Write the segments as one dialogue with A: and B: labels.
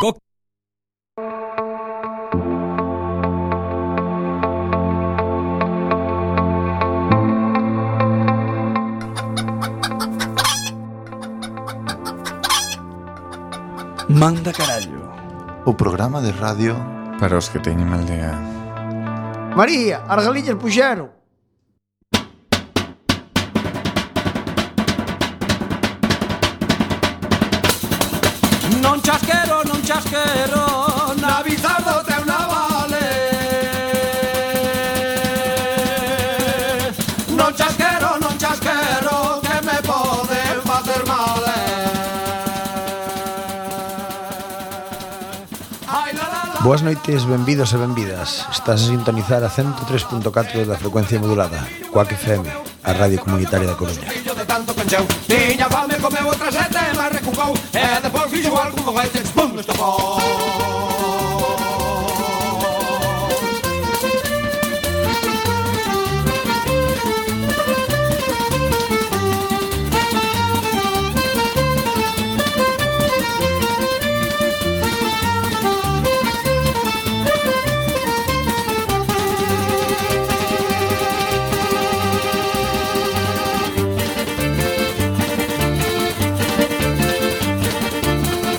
A: cóctel.
B: Manda carallo.
C: O programa de radio
D: Para os que teñen mal día.
E: María, as galillas puxeron.
A: Non chasquero, non chasquero, na bizardo teu navale. Non chasquero, non chasquero, que me poden facer mal. eh. Ai, la, la, la.
B: Boas noites, benvidos e benvidas. Estás a sintonizar a 103.4 da frecuencia modulada, Coac FM, a radio comunitaria da Coruña.
A: Fillo de tanto pencheu Tiña fame, comeu outra sete, mas recucou E depois fixo algún foguete, pum, estopou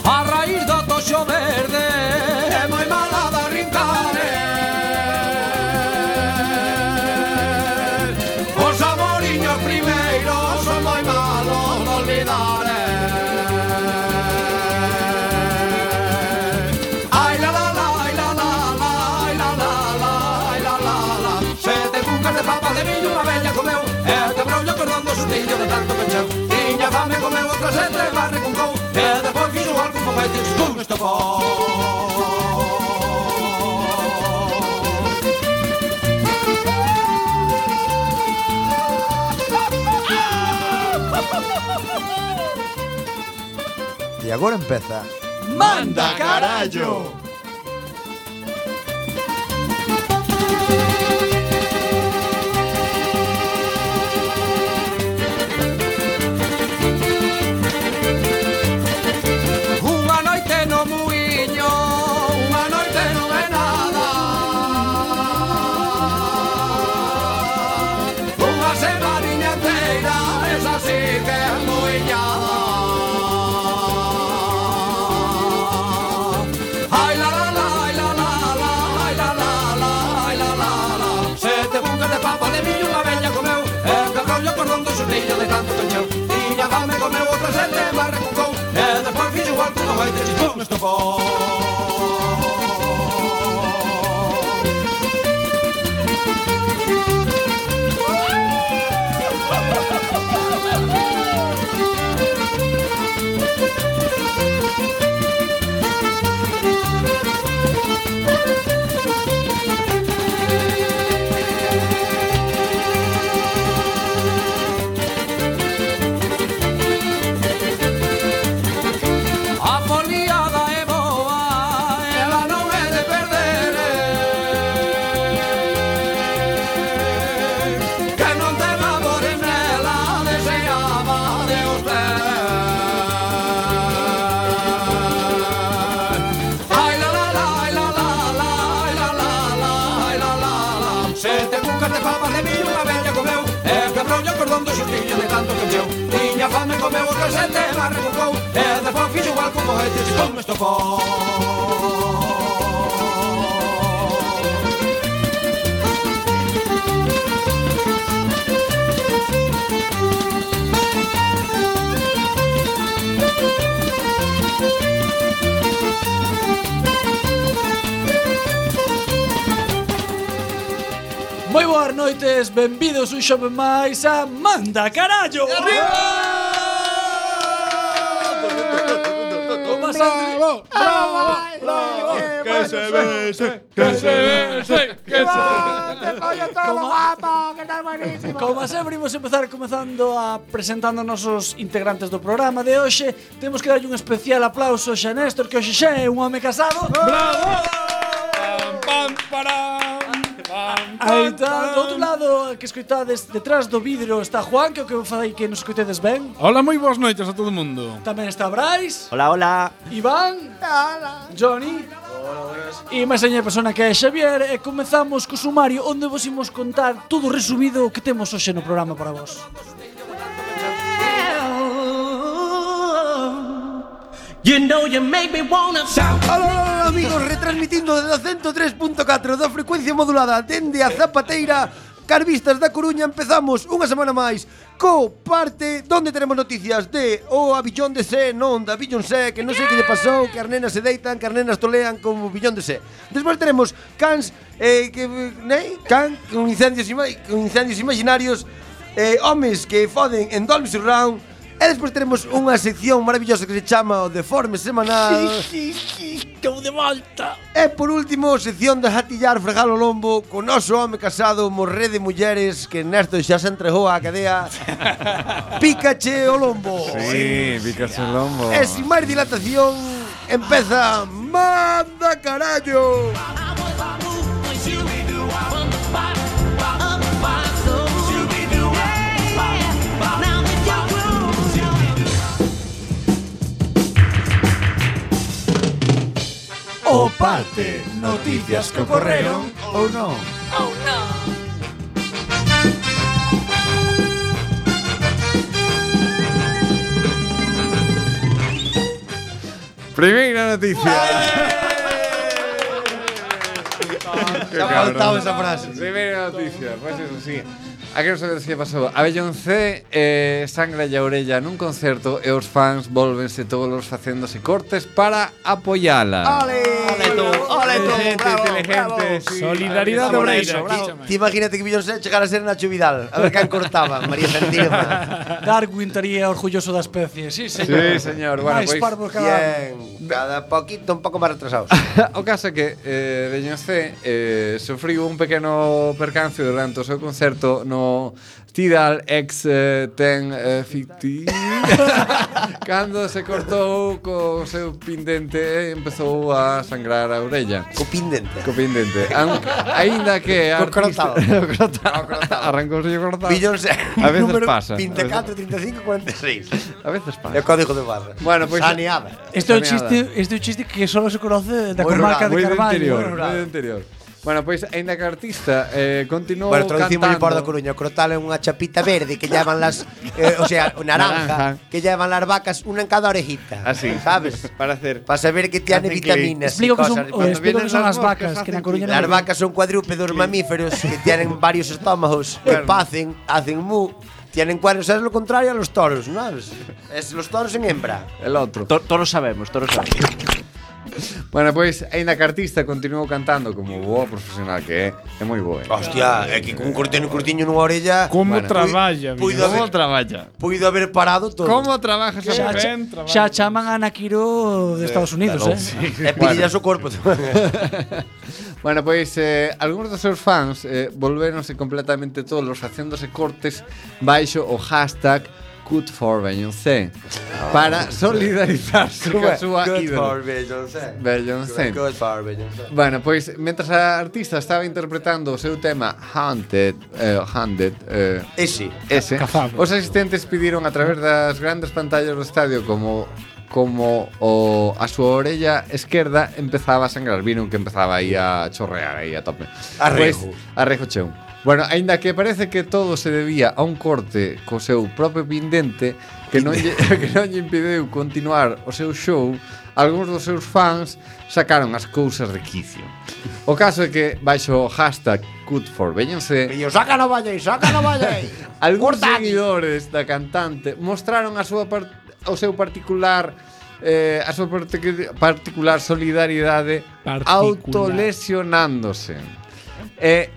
A: A raíz do toxo verde É moi mala da rincare Os amoriños primeiros Son moi malos de olvidar eh. Ai la la la, ai la la la Ai la la la, ai la la la Sete cucas de papa de millo Unha bella comeu Eh, E te brollo cordón do sustillo de tanto pecheu Tiña fame comeu outra sete Barre con cou Eh, E depois fixo algo con feites Con estopou
B: E agora empeza
A: Manda carallo. Unha noite no muiño, unha noite non é nada. Unha semaniña inteira, esa sí que é muiñada. Ai la la la, ai la la la, ai la la la, ai la la la. Sete bucas de papa de millo unha bella comeu, e que rollo cordón do xurrillo de tanto cancheu. Tiña fame comeu outra sete, mas recucou, e despois fixo igual que unha baita chistón estopou. A eh, foliada é boa, ela non é de perder eh. Que non te labore nela, deseaba de os ter Ai la la la, ai la la la, ai la la la, ai la la la Sete cucas de papas de millo unha bella comeu E quebrou o cordón do xustillo de tanto que encheu Tiña fame comeu o casete e barra cucou E despois fixo igual como este se come estopou
F: Moi boas noites, benvidos un xove máis a Manda Carallo. Como sempre,
D: Que se bese, que se bese, que se
F: como sempre imos empezar comezando a presentando os nosos integrantes do programa de hoxe. Temos que darlle un especial aplauso xa a Néstor, que hoxe xa é un home casado.
D: Pam, pam, pará.
F: Aí está, do outro lado que escoitades detrás do vidro está Juan, que é o que eu falei que nos escoitedes ben.
D: Hola, moi boas noites a todo mundo.
F: Tamén está Brais,
G: Hola, hola.
F: Iván, Johnny e máis a persona que é Xavier e comezamos co sumario onde vos imos contar todo resumido o que temos hoxe no programa para vos.
A: You know you make me wanna shout.
B: Aló, aló, aló, amigos, retransmitindo desde 103.4 da frecuencia modulada dende a Zapateira, Carvistas da Coruña, empezamos unha semana máis co parte donde tenemos noticias de o abillón de sé, non da abillón sé, que non sei que lle pasou, que as nenas se deitan, que as nenas tolean como billón de sé. Despois tenemos cans, eh, que, né? Can, con incendios, ima- con incendios imaginarios, eh, homes que foden en Dolby Surround, E despois teremos unha sección maravillosa que se chama o Deforme Semanal.
F: Estou de volta.
B: E por último, sección de jatillar fregalo lombo con oso home casado morré de mulleres que Ernesto xa se entregou á cadea Pícache o lombo
H: Sí, picas el lombo.
B: E sin máis dilatación empeza Manda carallo
H: O parte, noticias que ocurrieron o Oh, no. Primeira noticia. Que cabrón.
B: esa frase
H: Primeira noticia, pois eso sí. A que non sabedes que pasou? A Beyoncé eh, sangra a orella nun concerto e os fans volvense todos facéndose cortes para apoiala.
B: Ole,
G: Ole tú, ole tú,
H: Inteligente,
G: bravo,
H: inteligente. sí.
D: Solidaridade
H: Bravo,
D: obreira.
H: bravo.
B: Ti imagínate que Beyoncé chegara a ser Nacho Vidal A ver can cortaba, María Santísima
F: Darwin estaría orgulloso da especie. Sí, señor.
H: Sí, señor. Bueno,
F: máis
H: pois
F: parvos cada ano.
B: Bien, cada poquito un pouco máis retrasados
H: o caso é que eh, Beyoncé eh, sofriu un pequeno percance durante o seu concerto no Tidal X eh, Ten eh, 50 cando se cortou co seu pendente e empezou a sangrar a orella.
B: Co pindente
H: Co pendente. Aunque, ainda que a
B: Co crotado.
H: o crotado. Arrancouse o crotado.
B: Beyoncé
H: A veces
B: número E
H: pasa.
B: 24, 35, 46
H: A veces
B: É o
H: pasa.
B: código de barra.
H: Bueno, pois-
B: Saneada.
F: Este é un chiste,
H: Saneada.
F: este é un chiste que só se conoce da
B: Moi
F: comarca
B: rural,
F: de
H: Moi do
F: Carballo.
H: interior,
F: Moi
H: moi do
F: rural.
H: interior. Bueno, pois aínda que a artista eh, continuou
B: Bueno, traducimos
H: cantando.
B: por da Coruña. O crotal é unha chapita verde que llevan las... Eh, o sea, o naranja,
H: Naranja.
B: que llevan las vacas una en cada orejita.
H: Así,
B: ¿Sabes?
H: Ah, Para hacer.
B: Para saber que tiene
H: Hacen clic.
B: vitaminas
F: Explico
B: y
F: que son,
B: cosas.
F: o, explico
H: vienen
F: que son
H: las
F: as vacas
H: moscas,
F: que na
H: hacen
F: Coruña
B: Las
F: non
B: vacas son cuadrúpedos mamíferos que tienen varios estómagos, que pacen, hacen mu, tienen cuernos. Es lo contrario a los toros, ¿sabes? Es los toros en hembra.
H: El outro.
G: To- Todos sabemos, todos sabemos.
H: Bueno, pues pois, aínda que a artista continuou cantando como boa profesional que é, é moi boa. eh.
B: Hostia, é que con un cortiño, un cortiño nunha orella...
D: Como
H: Bueno.
D: traballa,
B: Puido
D: mira.
B: haber,
H: traballa?
B: puido haber parado todo.
H: Como trabaja esa
F: Xa,
H: mujer?
F: xa,
D: Ben, traballo.
F: xa chaman a Ana Quiro de Estados Unidos, eh?
B: E pillas o corpo. eh.
H: Bueno, pois, eh, algúns dos seus fans eh, volvéronse completamente tolos facéndose cortes baixo o hashtag Good for Beyoncé
B: Ah,
H: para solidarizarse coa súa
B: Good
H: ídola.
B: for Beyoncé.
H: Beyoncé.
B: Good for Beyoncé.
H: Bueno, pois, mentras a artista estaba interpretando o seu tema Haunted, eh, Haunted, eh,
B: Ese.
H: ese.
D: Cazamos.
H: Os asistentes pediron a través das grandes pantallas do estadio como como o a súa orella esquerda empezaba a sangrar, viron que empezaba aí a chorrear aí a tope. Pois,
B: Arrejo.
H: arrejo cheu. Bueno, aínda que parece que todo se debía a un corte co seu propio pendente que non lle, que non lle impediu continuar o seu show, algúns dos seus fans sacaron as cousas de quicio. O caso é que baixo o hashtag #goodforbeyoncé
B: Pillo, saca la valla y saca la valla. aí.
H: Algúns
B: Corta aquí.
H: seguidores da cantante mostraron a súa par o seu particular eh, a súa partic- particular solidariedade
D: Particular.
H: autolesionándose. E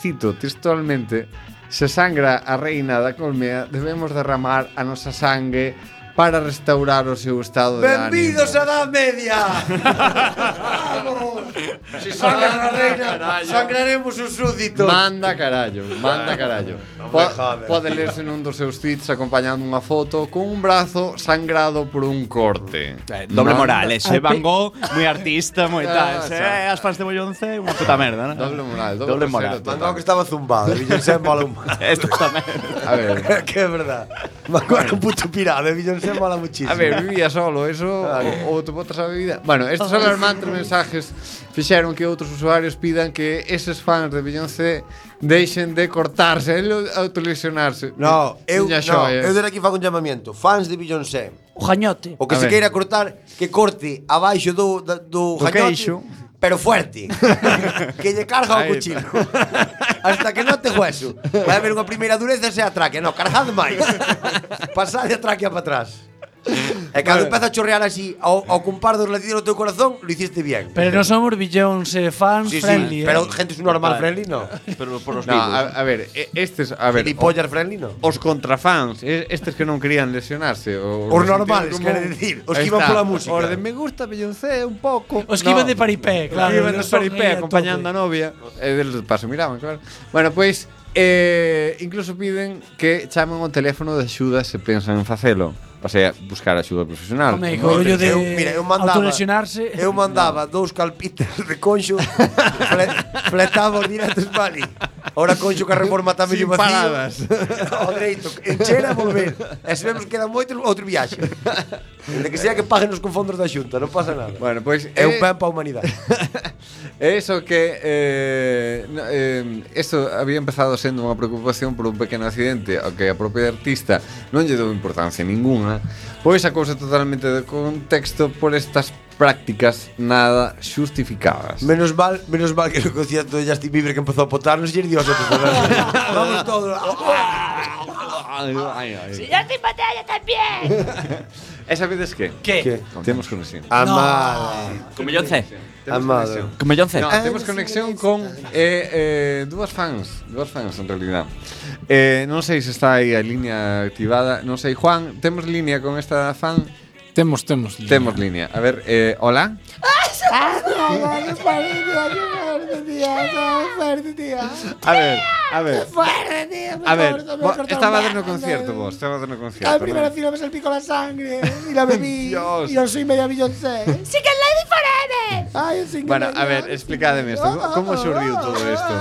H: cito textualmente: "Se sangra a reina da colmea, debemos derramar a nosa sangue para restaurar o seu estado de ánimo.
E: Benvidos á Edad Media. Vamos. Si sangra a reina, sangraremos os súditos.
H: Manda carallo, manda carallo. Po
E: joder.
H: pode lerse nun dos seus tweets acompañando unha foto con un brazo sangrado por un corte.
G: Eh, Doble
H: Manda-
G: moral, ese Van Gogh, moi artista, moi
H: Ah,
G: tal. Ese, eh,
H: xa.
G: as fans de Bollonce, unha puta merda, ¿no?
H: Doble moral, doble,
G: Doble
H: rasero
G: moral.
H: total.
B: Mandaba que estaba zumbado. E Beyoncé mola un...
G: Esto tamén.
H: A ver,
B: que é verdad. Me acuerdo que un puto pirado. E Beyoncé mola muchísimo.
H: A ver, vivía solo, eso o, o te botas a bebida. Bueno, estes alarmantes mensajes fixeron que outros usuarios pidan que eses fans de Beyoncé deixen de cortarse e autolesionarse.
B: No, eu,
H: Miña
B: no,
H: xoia.
B: eu desde aquí fago un chamamento. Fans de Beyoncé,
F: O jañote.
B: o que
H: A
B: se
H: ver.
B: queira cortar, que corte abaixo do, da- do,
G: Do
B: jañote,
G: queixo.
B: pero fuerte. que lle carga o
H: Ahí.
B: cuchillo. Hasta que note hueso. Vai haber unha primeira dureza e se atraque. No, cargad máis. Pasade atraque para atrás. E cando empeza a chorrear así ao, ao compar dos latidos do teu corazón, lo hiciste bien.
F: Pero non somos Beyoncé fans
B: sí,
F: friendly. eh.
B: sí, pero gente es normal friendly, no.
G: Pero por os
H: no, a, a ver, e- estes, a ver,
B: Pero,
H: o-
B: friendly, no.
H: os contrafans, e- estes que non querían lesionarse, os,
B: Os normales,
H: sentidos
B: quere
H: común.
B: dicir, os
H: Aí
B: que iban
H: está,
B: pola música.
H: Os de me gusta Beyoncé un pouco.
F: Os que iban de paripé, eh, claro,
H: Os que iban de
F: non son aí
H: paripé
F: a
H: acompañando a
F: tope.
H: novia, e del paso miraban, claro. Bueno, pois eh, incluso piden que chamen o teléfono de axuda se pensan en facelo. Pasei a buscar axuda profesional.
F: Home, co rollo de
B: eu, mira, eu mandaba,
F: autolesionarse.
B: Eu mandaba dous calpitas de conxo, fle, fletaba os directos para ali. Ahora conxo que a reforma tamén
H: Sin
B: lle vacío.
H: paradas.
B: Ao dereito, encher e volver. E se vemos que quedan moitos, outro viaxe. De que sea que paguen os confondos da xunta, non pasa nada.
H: Bueno, pois
B: É
H: eh,
B: un pen pa humanidade.
H: Eso que eh, no, eh, eso había empezado sendo unha preocupación por un pequeno accidente ao que a propia artista non lle deu importancia ninguna pois sacouse totalmente de contexto por estas prácticas nada xustificadas
B: Menos mal, menos mal que no concierto de Justin Bieber que empezou a potarnos e dios outros. Vamos todos.
H: ¡Oh! Si ya te batalla también Esa vez es que
F: Que?
H: Temos conexión
B: Ah, Amada,
G: Con Beyoncé.
B: amada.
G: Con Beyoncé.
H: No,
I: Ah,
H: temos conexión con eh, eh, dúas fans Dúas fans, en realidad eh, Non sei se está aí a liña activada Non sei, Juan, temos liña con esta fan
D: Temos, temos. liña.
H: Temos liña A ver, eh, hola A ver, a ver A ver, vo- estaba dando concierto vos Estaba dando concierto Al primeiro filo me salpicou la sangre E la bebí Dios Bueno, a ver, explicadme esto. ¿Cómo- ¿Cómo surgió todo esto?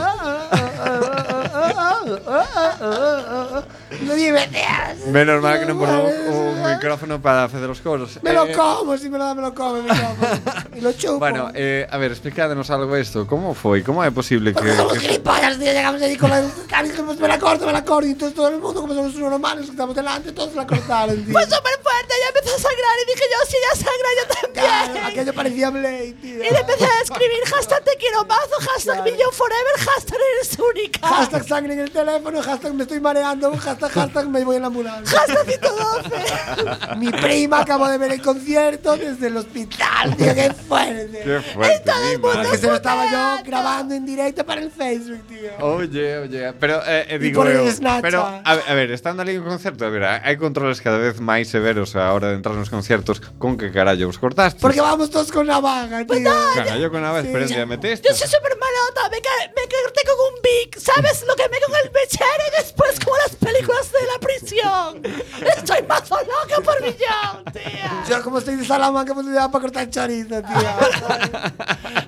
I: No dime, tías.
H: Menos mal que no pongo un micrófono para hacer los coros.
I: Me lo
H: Eh,
I: como, si me lo da, me lo come, me lo como. Y lo chupo.
H: Bueno, eh, a ver, explicadnos algo esto. ¿Cómo fue? ¿Cómo es posible que...?
I: Porque somos
H: que-
I: gilipollas, tío. Llegamos allí con la. A mí dijimos, me la corto, me la corto. Y entonces todo el mundo, como somos unos normales que estamos delante, todos la cortaron, tío. Fue súper fuerte, ya empezó a sangrar. Y dije, yo, si ya sangra, yo también. aquello parecía Blade, tío. Y le empecé a escribir hashtag te quiero mazo, hashtag millón forever, hashtag eres única. Hashtag sangre en el teléfono, hashtag me estoy mareando, hashtag, hashtag me voy en la ambulancia. Hashtag 112. Mi prima acabó de ver el concierto desde el hospital, tío, qué fuerte.
H: Qué fuerte, mi madre.
I: Que se lo estaba yo grabando en directo para el Facebook, tío.
H: Oye, oye, pero eh, eh, digo
I: por el
H: eu,
I: Snapchat.
H: pero a, ver- a ver, estando ali en concerto, a ver, hai hai controles cada vez máis severos a hora de entrar nos concertos, con que carallo vos cortaste?
I: Porque vamos todos con navaja, tío.
H: Carallo con a vez, pero ya metiste.
I: Pues Yo soy súper malota, me, ca- me corté con un bic, ¿sabes? Lo que me con el pechero y después como las películas de la prisión. Estoy más loca por millón, tía. Yo como estoy de Salamanca, pues me da para cortar chorizo, tía.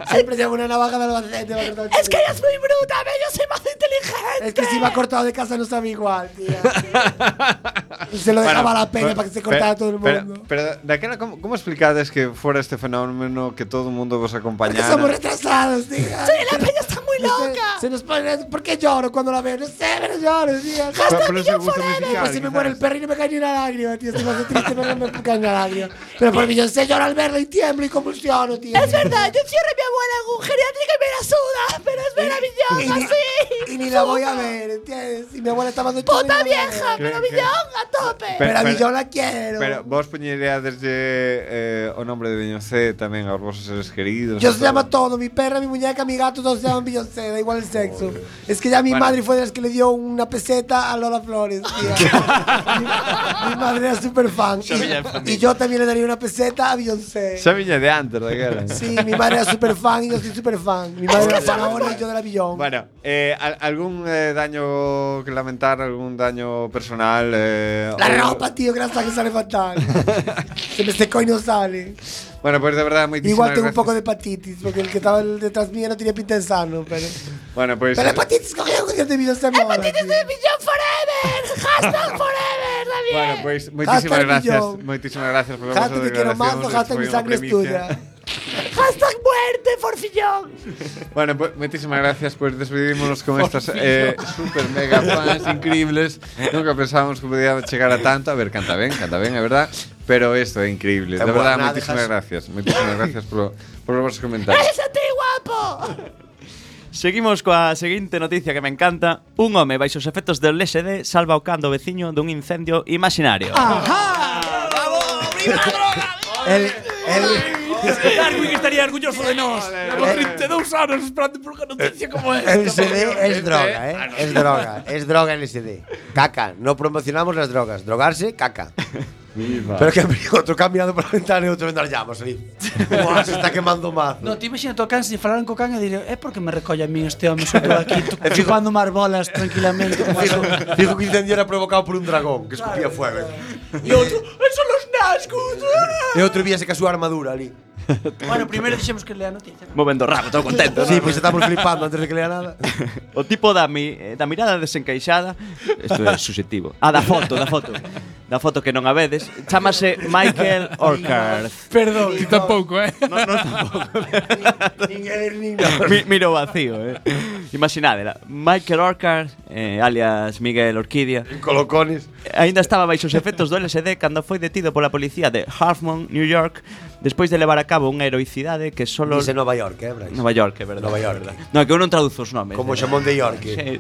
I: Siempre llevo una navaja de albacete para cortar chorizo. Es que ella es muy bruta, ve, yo soy más inteligente. Es que si va cortado de casa no sabe igual, tía. Y se lo
H: Bueno,
I: dejaba a la peña
H: pero-
I: para que se cortara
H: pero-
I: todo el
H: pero-
I: mundo.
H: Pero, daquela, como, como explicades que fuera este fenómeno que todo o mundo vos
I: Porque
H: acompañara?
I: somos retrasados, tío. Sí, la peña está muy loca. Se, nos pone, ¿Por qué lloro cuando la veo? No sé, pero lloro, tío. Hasta
H: por
I: que
H: ese
I: yo
H: gusto musical,
I: Pues si me
H: quizás.
I: muere el perro y no me cae ni una lágrima, tío. Estoy más triste, pero no me cae ni una lágrima. Pero por mí yo sé lloro al verlo y tiemblo y convulsiono, tío. Es verdad, yo encierro a mi abuela en un geriátrico y me la suda, pero es maravillosa, sí. Y ni la voy a ver, ¿entiendes? Y mi abuela está más de ¡Puta vieja!
H: pero Que- que-
I: millón
H: Millón,
I: a tope!
H: Pero-
I: Pero,
H: pero-
I: millón la quiero.
H: Pero vos poñeríades eh, o nombre de Beyoncé tamén aos vosos seres queridos.
I: Yo
H: a
I: se
H: todo.
I: llama todo, mi perra, mi muñeca, mi gato, todos se llaman Beyoncé. sé, da igual el sexo. Es que ya mi madre fue de las que le dio una peseta a Lola Flores. tía. mi, mi madre era súper fan.
H: Ya veía el
I: Y, y yo también le daría una peseta a Beyoncé.
H: Xa viña de antes daquela.
I: Sí, mi madre era súper fan y yo soy súper fan. Mi madre era Zanahoria y yo de la Billón.
H: Bueno, eh, al- algún eh, daño que lamentar, algún daño personal. eh,
I: La
H: o-
I: ropa, tío, grasa que sale fatal. Se me secó y no sale.
H: Bueno, pues de verdad, muy
I: Igual tengo un poco de hepatitis, porque el que estaba detrás mía no tenía pinta de sano, pero...
H: Bueno, pues.
I: Pero
H: eh,
I: hepatitis cogió un concierto de Beyoncé Mora. tío.
J: forever! ¡Hashtag forever!
H: Bueno, pues muchísimas
I: Hashtag
H: gracias.
I: millón.
H: Muchísimas gracias por
I: Hashtag te quiero mazo, hashtag mi sangre es tuya.
J: ¡Hashtag muerte, forfillón!
H: Bueno, pues muchísimas gracias. Pues despedímonos con estas eh, super mega fans increíbles. Nunca pensábamos que podía llegar a tanto. A ver, canta bien, canta bien, la verdad. Pero esto es increíble.
B: Eh,
H: De verdad,
B: buena,
H: muchísimas
B: dejas-
H: gracias. Muchísimas gracias por, por vuestros comentarios.
J: ¡Eres a ti, guapo!
G: Seguimos coa seguinte noticia que me encanta. Un home baixo os efectos del LSD salva o cando veciño dun incendio imaginario.
B: El, el,
F: Darwin estaría orgulloso de nós. Levamos 32 anos esperando por unha noticia como esta.
B: El SD es droga, ¿eh? Es droga, es droga el SD. Caca, no promocionamos las drogas. Drogarse, caca. Pero que me dijo otro caminando por la ventana y otro vendrá llamas ahí. Buah, se está quemando mazo.
F: No, te imagina tocan se falaran co can e diría, é porque me recolle a mí este home sobre aquí tu- chupando marbolas tranquilamente. como
B: Dijo,
F: eso.
B: dijo que el incendio era provocado por un dragón que escupía fuego.
F: E outro, son los nascos.
B: Y otro día se casó armadura ali.
F: bueno, primeiro dixemos que lea a noticia.
G: Movendo o rabo, todo contento.
B: Sí, pois estamos flipando antes de que lea nada.
G: O tipo da, mi, eh, da mirada desencaixada Isto é subjetivo Ah, da foto, da foto Da foto que non a vedes Chámase Michael Orcard
D: Perdón. Ti tampouco, eh?
G: No, no tampouco Mi, Miro vacío, eh Imaginadela Michael Orcard, eh, alias Miguel Orquídea
B: Colocones.
G: Ainda estaba baixo os efectos do LSD cando foi detido pola policía de Hartmont, New York Despois de levar a cabo unha heroicidade que solo...
B: Dice Nova York, eh, Brais?
G: Nova York, é verdade
B: Nova
G: é
B: York.
G: verdade. No, que eu non traduzo os nomes
B: Como
G: eh.
B: chamón de York.
G: Sí.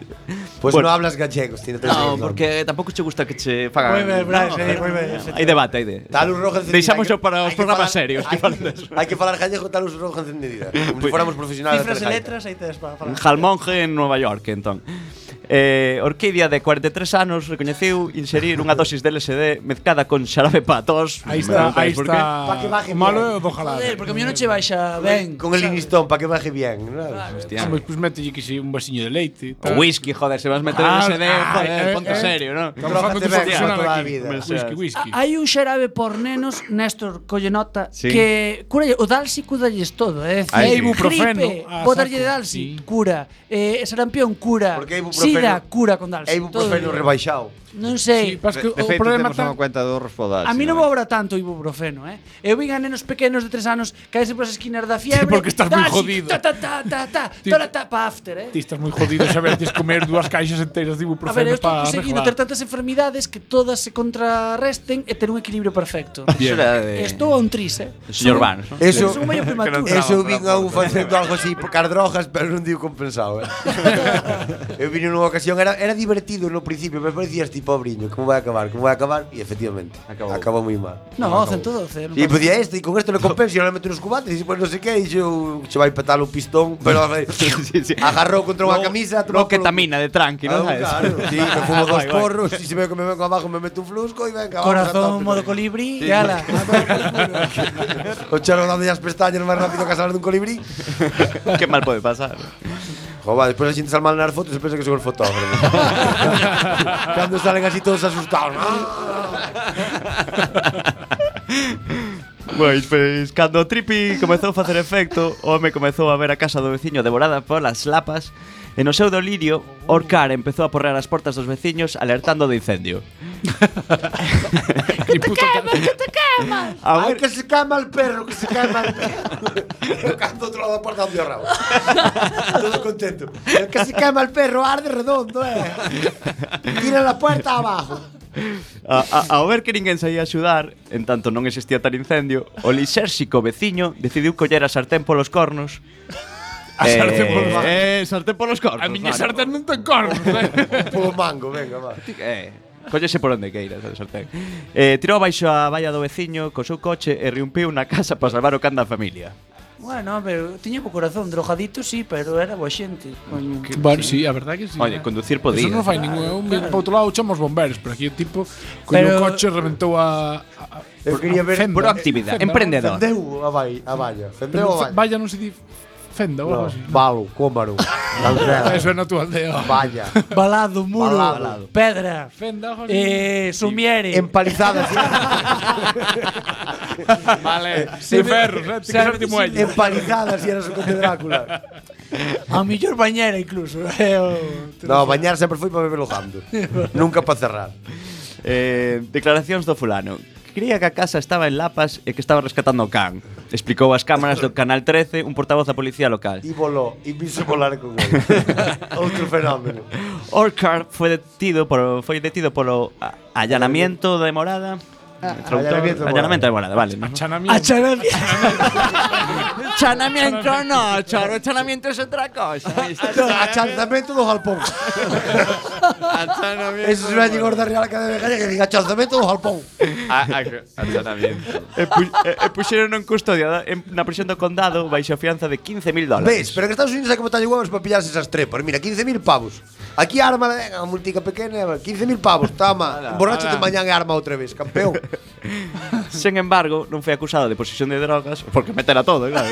B: Pues
G: Bueno.
B: no hablas gallegos, tiene tres
G: No,
B: dedos.
G: porque tampouco che gusta que che fagan.
F: Moi ben, Brais, eh,
G: pero-
F: moi ben.
G: Hai debate, hai debate.
B: Talus rojo encendida.
G: Deixamos
B: Hay que-
G: para
B: hay
G: os
B: que
G: programas
B: falar-
G: serios.
B: Hay, hay que falar gallego talus rojo encendida. Como si
G: Pues-
B: fuéramos profesionales.
F: Cifras e
B: de la gaita.
F: letras aí tes para falar.
G: Jalmonge en Nova York, entón. Eh, Orquídea de 43 anos recoñeciu inserir unha dosis de LSD mezcada con xarabe pa tos.
D: Aí está, aí
G: Por qué?
D: está.
I: Pa que baje
D: O malo é
I: bien.
D: o do jalado.
F: Joder, porque a mí non che baixa ben.
B: Con el inistón, para que baje bien. ¿no?
G: Hostia.
D: Ah, Pois pues, mételle que si un vasiño de leite.
G: O whisky, joder, se vas meter
D: Ah,
G: LSD, joder,
D: ah, eh,
G: ponte
D: eh.
G: serio, non?
D: Estamos facendo
B: Trójate
D: que
B: ben,
D: funciona
B: toda a
D: aquí.
B: vida.
D: Whisky, whisky.
F: A- Hai un xerabe por nenos, Néstor colle nota,
G: Sí.
F: que cura o Dalsi cudalles todo, é dicir,
D: Hai
F: gripe,
D: ibuprofeno, ah,
F: vou darlle
D: saco,
F: Dalsi,
D: sí.
F: cura, eh, sarampión cura,
B: Porque hai ibuprofeno-
F: sida cura con Dalsi.
B: É ibuprofeno
F: todo.
B: rebaixado.
F: Non
D: Sí,
F: sei.
D: pas que
H: De,
D: o
H: de feito,
D: problema
H: temos
D: está...
H: unha cuenta do Rospodal.
F: A mí non me obra tanto o ibuprofeno, eh. Eu vin a nenos pequenos de tres anos caerse polas esquinas da fiebre.
D: porque estás moi
F: Dalsi,
D: jodido.
F: Ta, ta, ta, ta, ta,
D: Ti-
F: tora, ta, pa after, eh.
D: Ti estás moi jodido xa ves, tes comer dúas caixas enteiras de
F: A ver, pues, eu
D: ibuprofeno
F: estou
D: para
F: conseguindo ter
D: arreglar.
F: tantas enfermidades que todas se contrarresten e ter un equilibrio perfecto.
G: Eso era de...
F: Estou a un tris, eh.
G: do Señor Barnes, non?
B: Eso,
F: Son medio prematuros.
B: eso vin a un facendo algo así por car drogas, pero non digo compensado. Eh. eu vine nunha ocasión, era, era divertido no principio, pero parecías tipo "Oh, briño, como vai acabar, como vai acabar, e efectivamente,
G: Acabou.
B: acabou, acabou moi mal.
F: No, 112.
B: E podía este, e con esto le compenso, e non le meto nos cubates, e pois non sei que, e eu che vai petar un pistón, pero a ver,
G: Sí, sí.
B: agarrou contra unha
G: No
B: camisa, trocou polo-
G: ketamina de tranqui, non?
B: Ah,
G: sabes?
B: claro, sí, me fumo dos
G: Guai, guai.
B: porros, e se veo que me vengo abajo me meto un flusco e venga, vamos a
F: Corazón
B: tope.
F: modo colibrí, e ala.
B: O charo dando as pestañas máis rápido que a sala dun colibrí.
G: Que mal pode pasar.
B: Jova, despois a xente sal mal nas fotos e pensa que son os fotógrafos. Cando salen así todos asustados.
G: Pois, pois, Pues, cando o tripi comezou a facer efecto, o home comezou a ver a casa do veciño devorada polas lapas e no seu delirio, Orcar empezou a porrear as portas dos veciños alertando do incendio.
D: E puto ca-
G: A
B: Ai,
G: ver,
B: que se quema el perro, que se quema el perro. Eu canto outro lado da porta onde o rabo. Todo contento.
I: El que se quema el perro arde redondo, eh. Tira la puerta abajo.
G: a, a, ao ver que ninguén saía a axudar, en tanto non existía tal incendio, o lisérxico veciño decidiu coller a sartén polos cornos
D: A sartén polos
G: cornos.
D: cornos.
G: Eh, sartén polos cornos.
D: A miña
G: vale.
D: sartén non ten cornos, eh?
B: Polo mango, venga, va.
G: Eh, Cóllese por onde queiras, a sartén. Eh, tirou abaixo a valla do veciño co seu coche e riumpiu na casa para salvar o can da familia.
F: Bueno, pero tiña o corazón drogaditos, sí, pero era boa xente, coño.
D: Bueno, sí, a verdade que sí.
G: Oye, conducir podía.
D: Eso non fai ningún.
F: Claro,
D: Un,
F: claro.
D: Por outro lado, chamamos bombeiros, pero aquí o tipo con
F: Pero-
D: o coche reventou a... a, a
B: Eu quería ver
D: fenda. Fenda, non?
B: Fendeu a vai, a valla. Fendeu
D: Pero
B: a
D: fe-
B: valla.
D: vaya non se di fenda ou algo
B: No,
D: así.
B: Valo, cómaro. Calcera.
D: Eso é na tua aldea.
B: Valla.
F: Balado, muro,
B: Balado.
F: pedra,
D: Fenda, joder.
F: eh, sumiere.
B: Empalizadas.
D: Vale, sin ferros, eh, ti que ser timuello.
B: Empalizadas y eras o conde Drácula.
F: A mellor bañera incluso. eh, o-
B: No, bañar sempre foi para beber o jando. Nunca para cerrar.
G: Eh, declaracións do fulano. Cría que a casa estaba en Lapas e que estaba rescatando o can. Explicou ás cámaras do Canal 13 un portavoz da policía local.
B: E voló, e vise volar con ele. Outro fenómeno.
G: Orcar foi detido por foi detido polo a- allanamiento de morada.
B: Ah.
G: Ah,
B: allanamiento de
G: Allanamiento, allanamiento de morada, vale. Ah, ¿no?
D: Chanamiento.
F: Achanamiento.
G: Chanamiento no, choro, chanamiento es otra cosa.
B: Achanzamento do galpón. Eso se vai llegar da Real Academia Galega que diga achanzamento do galpón.
G: E, Eh, pu e, e puxeron en custodia da- en, na prisión do condado baixo a fianza de 15.000
B: Ves,
G: dólares.
B: pero en Estados Unidos hai que botarlle huevos para pillarse esas trepas. Mira, 15.000 pavos. Aquí arma, venga, a multica pequena, 15.000 pavos, tama. Borráchate mañán e arma outra vez, campeón.
G: Sen embargo, non foi acusado de posesión de drogas porque metera todo, claro.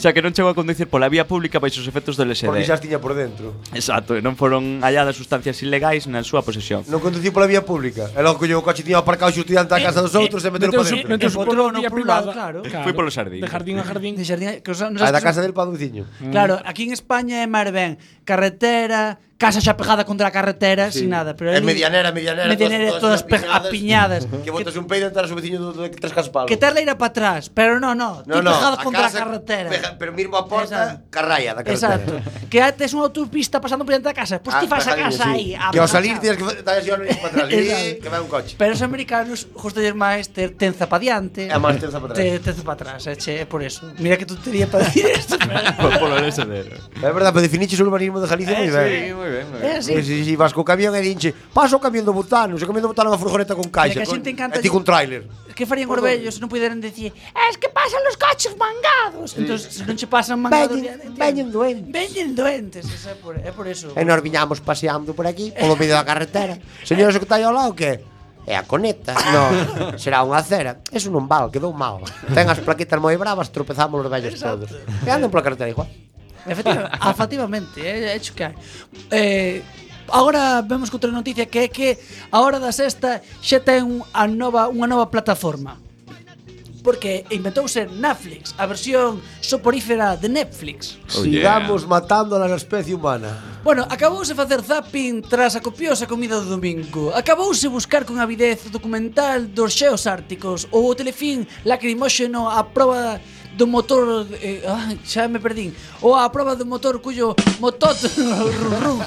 G: xa que non chegou a conducir pola vía pública baixo os efectos do LSD.
B: Porque xa as tiña por dentro.
G: Exacto, e non foron halladas sustancias ilegais na súa posesión.
B: Non conduciu pola vía pública. E logo colleu o coche tiña aparcado xusto diante da casa
F: Eh,
B: dos outros e meteu para
D: Eh, Meteuse-
B: dentro.
D: meteuse
F: E
D: por
F: botou
D: unha
F: no
D: vía
F: por un
D: privada.
F: lado, claro.
G: Foi polo xardín.
D: De jardín a jardín.
F: De xardín, que os, nos
B: A da
F: outros-
B: casa del para veciño.
F: Mm. Claro, aquí en España é máis ben carretera, casa xa pegada contra a carretera, sin nada, pero
B: É
F: ali-
B: medianera, medianera,
F: medianera todas,
B: todas- todas
F: apiñadas.
B: Que botas un peido e entras o veciño do do- de tres caspalos.
F: que tal leira para atrás, pero no, no,
B: No,
F: ti
B: no,
F: pegado
B: a
F: contra
B: casa
F: a carretera.
B: pega- pero mismo a porta,
F: Exacto.
B: carraia da carretera.
F: Exacto. que antes unha autopista pasando por diante da casa, pois ti fas a casa aí.
B: Ah, Que ao
F: abrazado.
B: salir tienes que dar ese orden para atrás.
F: Exacto.
B: E que vai un coche.
F: Pero os americanos gustalles máis ter tenza pa diante.
B: É máis tenza pa atrás.
F: Te- Tenza pa atrás, eh, che, é por eso. Mira que tú terías para decir esto.
G: Foi polo LSD.
B: É verdade, pero definiches o urbanismo de
F: Eh,
B: Galicia moi ben.
H: Muy bien, muy
F: é así.
B: Si, si, si vas co camión e dinche, paso o camión do butano, se o camión do butano é unha furgoneta con caixa,
F: Pero que a
B: con,
F: xente encanta
B: e ti
F: lle-
B: con trailer.
F: Que farían os vellos se non puderan dicir Es que pasan los coches mangados Entón, se non che pasan mangados
I: Veñen-
F: diante,
I: veñen duendes.
F: Veñen doentes esa É por, é por eso
B: E nos viñamos paseando por aquí, polo medio da carretera. Señores, o que está aí ao lado, que? É a coneta. No, será unha acera. Eso non val, quedou mal. Ten as plaquetas moi bravas, tropezamos os vellos todos. E andan pola carretera igual.
F: Efectiva, afectivamente, é, é chocar. Eh, agora vemos que outra noticia que é que a hora da sexta xa ten a nova, unha nova plataforma. Porque inventouse Netflix, a versión soporífera de Netflix.
B: Oh, Sigamos matando a especie humana.
F: Bueno, acabouse facer zapping tras a copiosa comida do domingo. Acabouse buscar con avidez o documental dos xeos árticos ou o telefilm lacrimóxeno a proba do motor... Eh, ah, xa me perdín. Ou a proba do motor cuyo motot run, run,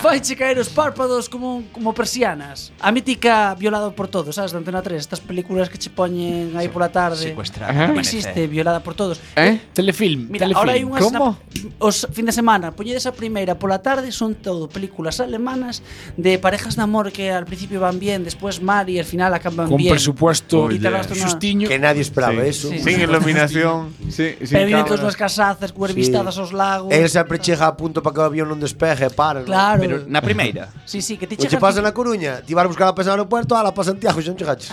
F: faiche caer os párpados como, como persianas. A mítica violada por todos, sabes, de Antena 3. Estas películas que che poñen aí pola tarde.
G: Secuestrada
F: Non
G: ao amanecer.
F: Existe, violada por todos.
H: ¿Eh?
D: Telefilm.
F: Mira,
D: telefilm.
F: ahora hai unhas
H: Como?
F: na- os fin de semana, poñedes a primeira pola tarde, son todo películas alemanas de parejas de amor que al principio van bien, despois mal e al final acaban
D: Con
F: bien.
D: presupuesto
F: Y te gastas una-
D: sustiño.
B: Que nadie esperaba eso.
F: Sí.
H: Sin iluminación. sí, sin
F: Pedín todas
H: cámaras.
F: as casazas, cuer vistadas aos lagos.
B: El sempre chega a punto para que o avión non despeje, para.
F: Claro.
G: Pero na primeira.
F: Sí, sí, que ti
B: O che
F: chegas-
B: pasa na Coruña, ti vas buscar a pesa no aeropuerto, ala, pa Santiago, xa non chegaches.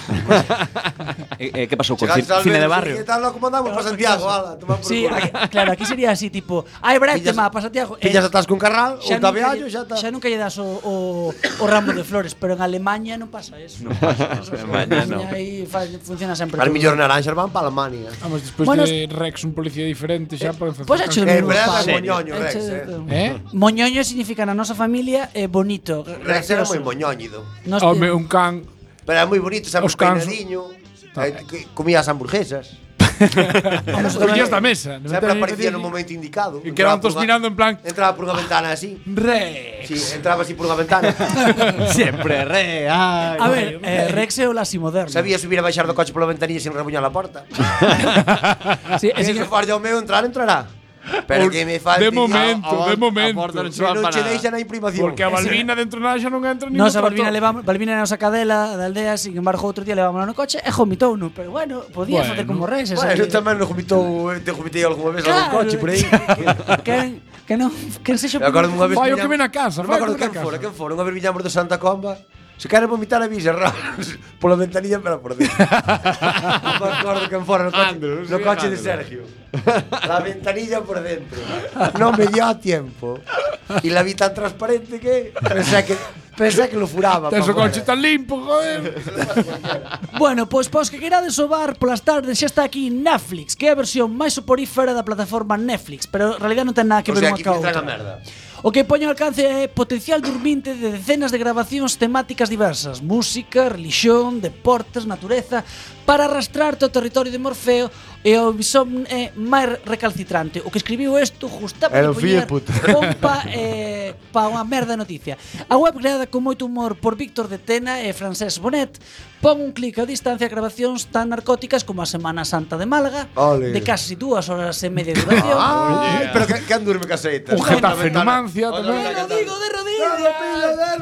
G: Eh, eh, que pasou con
B: Chegaches
G: cin-
B: al
G: cine de
B: Bedos,
G: barrio?
B: Que tal, loco, mandamos pa Santiago, ala, tomar por
F: Sí,
B: culo.
F: aquí, claro, aquí sería así, tipo, ai, brete,
B: Pillas-
F: ma, pasa Tiago. Eh,
B: Pillas atrás con Carral, ou Tabeallo, xa está.
F: xa nunca lle das o, o, o ramo de flores, pero en Alemania non pasa eso. Non pasa eso. En
G: Alemania non.
F: Aí fa- funciona sempre.
B: Al
F: todo.
B: millor naranxas van pa Alemania.
D: Vamos, despois
F: Bueno, pues
D: de Rex, un policía diferente xa para empezar.
F: Pois acho
B: Eh,
F: o mismo.
B: verdad,
F: pavo.
B: moñoño,
F: Eh,
B: Rex,
F: che,
B: eh.
D: Eh?
F: Moñoño significa na nosa familia é bonito,
B: Rex era
F: gracioso.
B: moi moñóñido.
F: Nos te-
D: Home, un can.
B: Pero era moi bonito, sempre
D: Os cans-
B: peinadiño. eh, que Comía as hamburguesas.
D: Os
B: Pues
D: collías da mesa. non
B: Sempre
D: teñen
B: aparecía
D: que
B: no
D: dicir.
B: momento indicado.
D: E quedaban todos
B: Entraba por unha-
D: mirando en plan. "Ah,
B: Entraba por unha ventana así.
D: Rex.
B: Sí, entraba así por unha ventana.
G: Sempre re, ai.
F: A ver, eh, Rex é o lasi moderno.
B: Sabía subir e baixar do coche pola ventanilla sin rebuñar a porta.
F: Sí, é
B: E se
F: que
B: farlle ao meu entrar, entrará. Pero que me falta
D: De momento, de momento.
B: non che deixan a imprimación.
D: Porque a Balbina dentro nada xa non entra nin
F: Nos a
D: no
F: Balbina
D: cartón.
F: levamos, Balbina era a nosa cadela da aldea, sin embargo, outro día levámonos no coche e vomitou no, pero bueno, podía
B: Bueno.
F: facer como reses.
B: Bueno, eu
F: ali.
B: tamén non vomitou, te vomitei algunha vez
F: Claro.
B: algún coche por aí.
F: que, que non, que sexa
B: Me acordo unha vez.
F: Vai, o
B: viñamos-
F: que ven a casa,
B: Non me
F: vai o
B: acordo
F: que ven a
B: quen
F: casa.
B: fora, quen fora. Unha vez viñamos de Santa Comba. Se quere vomitar avisa Ramos pola ventanilla para por dentro. non me acordo quen fora no coche,
E: Andros,
B: no
E: sí,
B: coche de
E: Andros.
B: Sergio. La ventanilla por dentro. Non me dio a tiempo. Y la vi tan transparente que pensé que pensé que lo furaba.
D: Tes o
B: pa
D: coche
B: fora.
D: tan limpo, joder.
F: Bueno, pois pos que querades sobar polas tardes xa está aquí Netflix, que é a versión máis soporífera da plataforma Netflix, pero en realidad non ten nada que
B: O
F: ver unha
B: sea, aquí
F: ca outra.
B: filtran a merda.
F: O que poño ao alcance é potencial durminte de decenas de grabacións temáticas diversas, música, religión, deportes, natureza, para arrastrarte ao territorio de Morfeo e ao bisomne máis recalcitrante. O que escribiu isto justa
E: Era o fillo de puta.
F: pompa eh, pa unha merda de noticia. A web creada con moito humor por Víctor de Tena e Francesc Bonet pon un clic a distancia a grabacións tan narcóticas como a Semana Santa de Málaga,
B: Ole.
F: de casi dúas horas e media de duración.
B: Ah, pero que, que andurme caseita.
D: Un Getafe Numancia tamén.
B: digo
F: de
B: rodillas.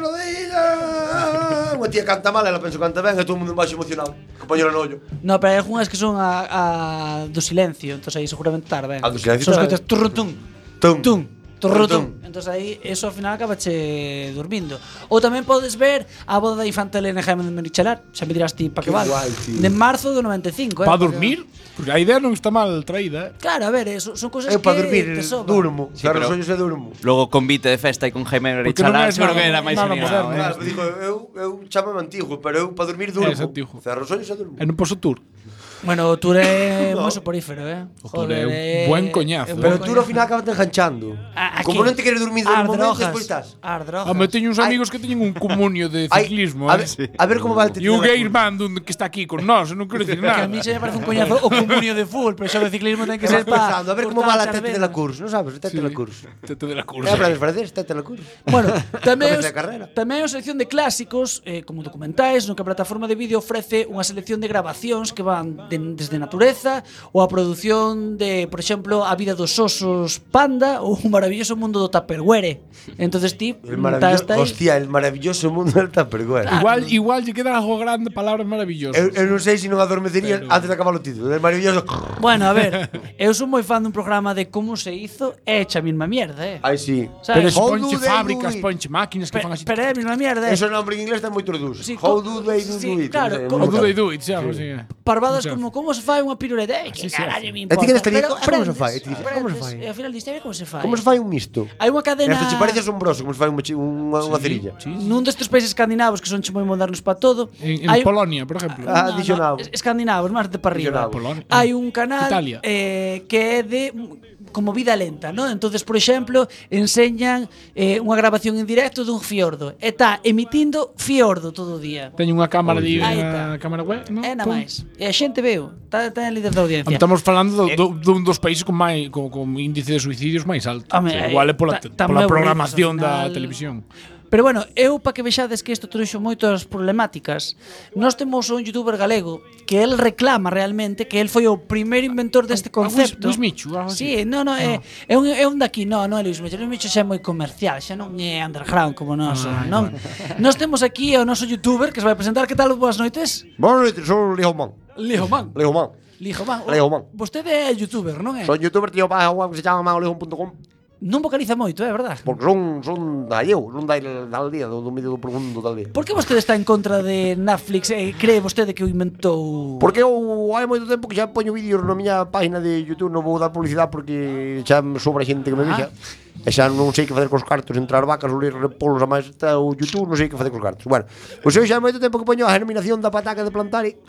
B: Lo pido de rodillas. Unha tía canta mal, ela penso canta ben, e todo o mundo en baixo emocionado. Compañero no ollo.
F: No, pero hai algunhas que son a, a do silencio, entón aí seguramente estar ben.
B: A do silencio
F: Son
B: tá
F: as que
B: ben.
F: tes turrutum,
B: Tum.
F: tum,
B: Tum.
F: turrutum. Entón aí, eso ao final acabache dormindo. Ou tamén podes ver a boda da infanta Elena e Jaime de Merichelar, xa me dirás ti pa que
D: Que
F: vale.
D: guai, tío.
F: de marzo do 95, eh.
D: Para
F: porque-
D: dormir? Porque a idea non está mal traída, eh.
F: Claro, a ver, eh, son, son cosas
B: Eu
F: que
B: para dormir
F: te sobran.
B: durmo.
G: Sí,
B: Cerro
G: pero-
B: os ollos e durmo.
G: Logo convite de festa e con Jaime
D: Porque non
G: Richalar,
D: é
G: seguro que
D: nada-
G: era máis
D: nada
G: animado,
D: moderno.
G: eh.
B: Claro, digo, eu, eu chamame antigo, pero eu para dormir durmo.
D: Es antigo.
B: Cerro os ollos e durmo.
D: E non poso tour.
F: Bueno, o Tour é moi soporífero, eh.
D: O Tour é un buen coñazo, eh.
B: Pero tú ao final acabas te enganchando.
F: A- a
B: Como
F: que-
B: non te queres dormir do
F: ardrogas,
B: momento, despois estás.
F: Ardrogas.
D: Home, teño uns amigos que teñen un comunio de
B: Ai,
D: ciclismo,
B: a
D: eh.
B: ver- a ver como va el
D: E o
B: titular.
D: gay man dun que está aquí con nós, non quero dicir
F: Que
D: nada.
F: a mí se me parece un coñazo o comunio de fútbol, pero xa o de ciclismo ten que ser para...
B: pensando, a ver como va la tete de la curso, non sabes? Tete de la curso.
D: Tete de la
B: É
D: cursa.
B: a planes francés, tete de la curso.
F: Bueno, tamén
B: Cabeza
F: os,
B: de carrera.
F: tamén a sección de clásicos, eh, como documentais, no que a plataforma de vídeo ofrece unha selección de grabacións que van de, desde natureza ou a produción de, por exemplo, a vida dos osos panda ou un maravilloso mundo do Tupperware. Entonces ti
B: El
F: estás
B: maravilloso,
F: ahí.
B: hostia, el maravilloso mundo del Tupperware.
F: Ah,
D: Igual, igual lle queda algo grande, palabras maravillosas.
B: Eu, eu non sei se non adormecería
D: Pero-
B: antes de acabar o título. É maravilloso.
F: Bueno, a ver, eu sou moi fan dun programa de como se hizo, é hecha a mesma mierda, eh.
B: Ai, sí.
D: Pero
F: Sabes?
D: se ponche
B: How do they
D: fábricas,
B: do it?
D: ponche máquinas que fan
F: Pero,
D: así.
F: pero é a mesma mierda, eh.
B: Eso nombre en inglés ten moito dos.
F: Sí,
B: How
F: co-
B: do they do,
F: sí,
B: it?
F: claro,
B: Non sei,
D: O
F: co-
B: non
D: do
B: sei.
D: they do it, xa, así. eh.
F: parvadas
D: Muchas.
F: como como se fai unha piruleta, eh, que
D: Sí, sí, sí.
F: carallo me
B: A ti
F: importa.
B: que eres técnico,
F: Pero
B: ah, como se fai?
F: aprendes,
B: E ti dices, ah, como se
F: aprendes,
B: fai?
F: E ao final dis, "Eh, como se fai?
B: Como se fai un misto?
F: Hai unha cadena
B: Esto te parece asombroso, como se fai un mochi- unha, unha cerilla.
F: nun destes países escandinavos que son che moi modernos para todo.
D: En, en
F: hai-
D: Polonia, por exemplo.
B: Ah,
F: No,
B: dixonavo.
F: no, es- escandinavos, máis de para arriba.
B: Dixonavo.
D: Polonia.
F: Hai un canal
D: Italia.
F: eh, que é de mm, como vida lenta, ¿no? Entonces, por exemplo, enseñan eh, unha grabación en directo dun fiordo. E está emitindo fiordo todo o día.
D: Teño unha cámara de
F: Aí
D: unha cámara web, non?
F: É na
D: Pum.
F: máis. E a xente veo, está tá en líder da audiencia.
D: Estamos falando
F: eh,
D: do, do, dun dos países con máis con, con índice de suicidios máis alto.
F: Home,
D: Sí,
F: eh,
D: Igual é pola,
F: ta-
D: te-
F: tan
D: pola
F: aburridos,
D: programación
F: ao
D: da
F: final.
D: televisión.
F: Pero bueno, eu para que vexades que isto trouxo moitas problemáticas, nós temos un youtuber galego que el reclama realmente que el foi o primeiro inventor deste
D: a Ah, Luis-
F: concepto.
D: Luis Michu, algo así. Ah.
F: Sí, no, no, é, é, un, é un daqui, no, non é Luis Michu, Luis Michu xa é moi comercial, xa non é underground como nós,
D: Ah,
F: non? Nós temos aquí o noso youtuber que se vai presentar, que tal, boas noites?
B: Boa noite, sou o Leo Man.
F: Lijo Man.
B: Leo Man.
F: Lijo Man. O-
B: Leo Man.
F: Vostede é youtuber, non é?
B: Son youtuber, tío, para a web que se chama maolejón.com
F: ¿eh? Non vocaliza moito, eh, é verdad?
B: porque son, son da eu, son da, da aldea, do, do medio do profundo da aldea.
F: Por que vostede está en contra de Netflix e cree vostede que o inventou?
B: Porque eu hai moito tempo que xa poño vídeos na miña página de YouTube, non vou dar publicidade porque xa me sobra xente que me vexa. E xa non sei que facer cos cartos, entrar vacas, oler polos a máis está o YouTube, non sei que facer cos cartos. Bueno, pois eu xa hai moito tempo que poño a germinación da pataca de plantare.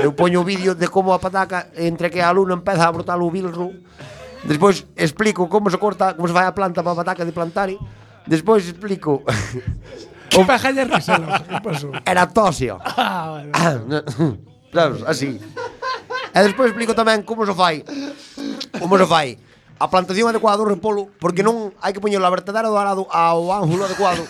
B: Eu poño vídeos de como a pataca entre que a luna empeza a brotar o bilro. Despois explico como se corta, como se fai a planta para a pataca de plantare. Despois explico
D: Que pajalle risalos, que pasou?
B: Eratósio.
F: Ah, vale.
B: Ah, no. Sabes, así. E despois explico tamén como se fai. Como se fai a plantación adecuada do repolo, porque non hai que poñer o vertedero do arado ao ángulo adecuado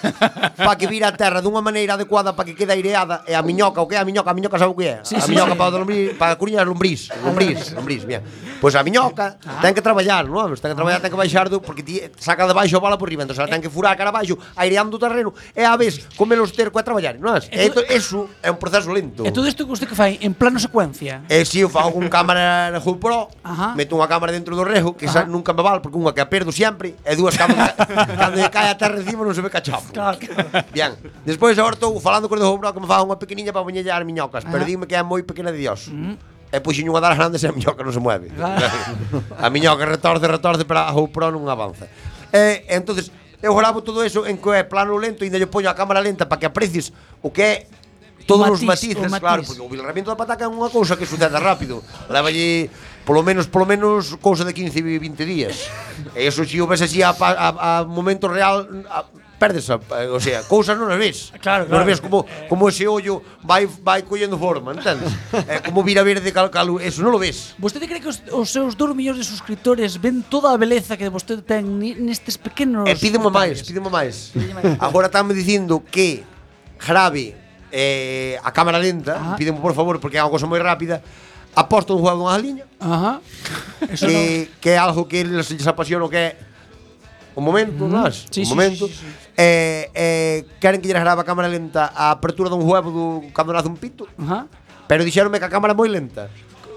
B: para que vira a terra dunha maneira adecuada para que quede aireada e a miñoca, o que é a miñoca? A miñoca sabe o que é?
E: Sí,
B: a
E: sí, sí.
B: miñoca para o lombriz, para a curiña é lombriz, lombriz, lombriz, bien. Pois a miñoca
E: Ah.
B: ten que traballar, non? Ten que traballar, ten que baixar do porque ti saca de baixo a bala por riba, entón ela ten que furar cara abaixo, aireando o terreno e a vez come os terco a traballar, non? E to- eso é un proceso lento.
F: E todo isto que usted que fai en plano secuencia.
B: E si eu fago con cámara na GoPro,
F: Ajá.
B: meto unha cámara dentro do rejo, que esa nunca me vale, porque unha que a perdo sempre, e dúas cámaras, cando lle cae a terra encima non se ve cachafo. Bien, despois agora estou falando con o do GoPro que me faga unha pequeniña para poñerlle as miñocas, pero dime que é moi pequena de Dios. E puxen unha das grandes e a miñoca non se mueve. a miñoca retorce, retorce, pero a GoPro non avanza. E, entonces, eu gravo todo eso en que é plano lento, e ainda lle poño a cámara lenta para que aprecies o que é todos os
E: Matiz,
B: matices,
E: o matiz.
B: claro, porque o vilarramiento da pataca é unha cousa que sucede rápido. Leva allí polo menos polo menos cousa de 15 e 20 días. E eso si o ves así a, pa- a, a momento real a, perdes a, a- o sea, cousas non as ves. Claro, Non
E: claro.
B: as ves como como ese ollo vai vai collendo forma, entendes? É como vira verde cal, cal eso non lo ves.
F: Vostede cree que os, os seus 2 millóns de suscriptores ven toda a beleza que vostede ten ni- nestes pequenos...
B: E Eh, pídeme máis, pídeme máis. Agora estáme dicindo que grave eh, a cámara lenta, pídeme por favor, porque é unha cosa moi rápida, aposto un jugador dunha liña,
F: Ajá. Eso
B: que, que é algo que les, les apasiona o que é o momento, mm. nas,
F: Mm-hmm. Sí, sí,
B: o momento.
F: sí, sí, sí.
B: Eh, eh, queren que lle grava a cámara lenta a apertura dun huevo do cando nace un pito.
F: Ajá.
B: Pero dixéronme que a cámara é moi lenta.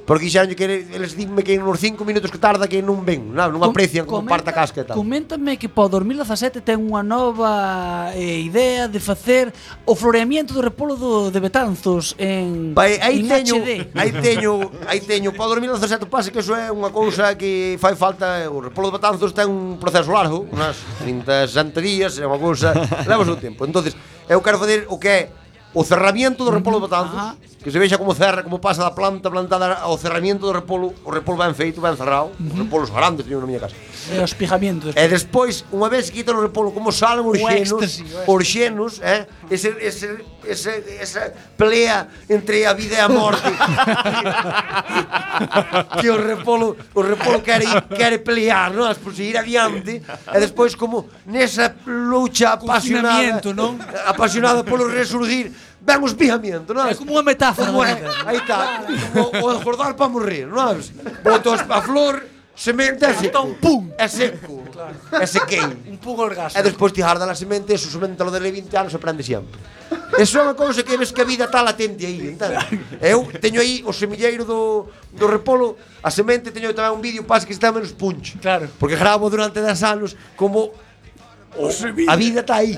B: Porque dixeronlle que eles dinme que nos 5 minutos que tarda que non ven, non, non
F: Com-
B: aprecian como
F: comenta-
B: parte a casca e tal.
F: Coméntame que para o 2017 ten unha nova eh, idea de facer o floreamento do repolo do, de Betanzos en,
B: Vai, aí
F: en
B: teño,
F: HD.
B: aí teño, aí teño, para 2017 pasa que eso é unha cousa que fai falta, o repolo de Batanzos ten un proceso largo, unas 30, 60 días, é unha cousa, leva o seu tempo. Entonces, eu quero fazer o que é o cerramiento do repolo de Batanzos, que se vexa como cerra, como pasa da planta plantada ao cerramiento do repolo, o repolo ben feito, ben cerrado, os repolos grandes teño na miña casa.
F: E o espijamiento.
B: E despois, unha vez que quitan o repolo, como salen
F: O
B: os xenos,
F: éxtase, o
B: os xenos, eh? Ese, ese, ese, esa pelea entre a vida e a morte. que o repolo, o repolo quere, quere pelear, non? As por seguir adiante. E despois, como nesa lucha apasionada,
F: Confinamiento, non?
B: apasionada polo resurgir, ven o espijamiento, non? É
F: como unha metáfora.
B: Como é, aí está, como o engordar para morrer, non? Botas a flor, semente e seco. pum. É seco. É sequén.
F: Un pouco orgasmo.
B: E despois ti jarda la semente, eso semente lo dele 20 anos, aprende sempre. Eso é unha cousa que ves que a vida está latente aí, entende? Eu teño aí o semilleiro do, do repolo, a semente teño tamén un vídeo, pasa que está menos punch. Claro. Porque gravo durante 10 anos como o, a vida está aí.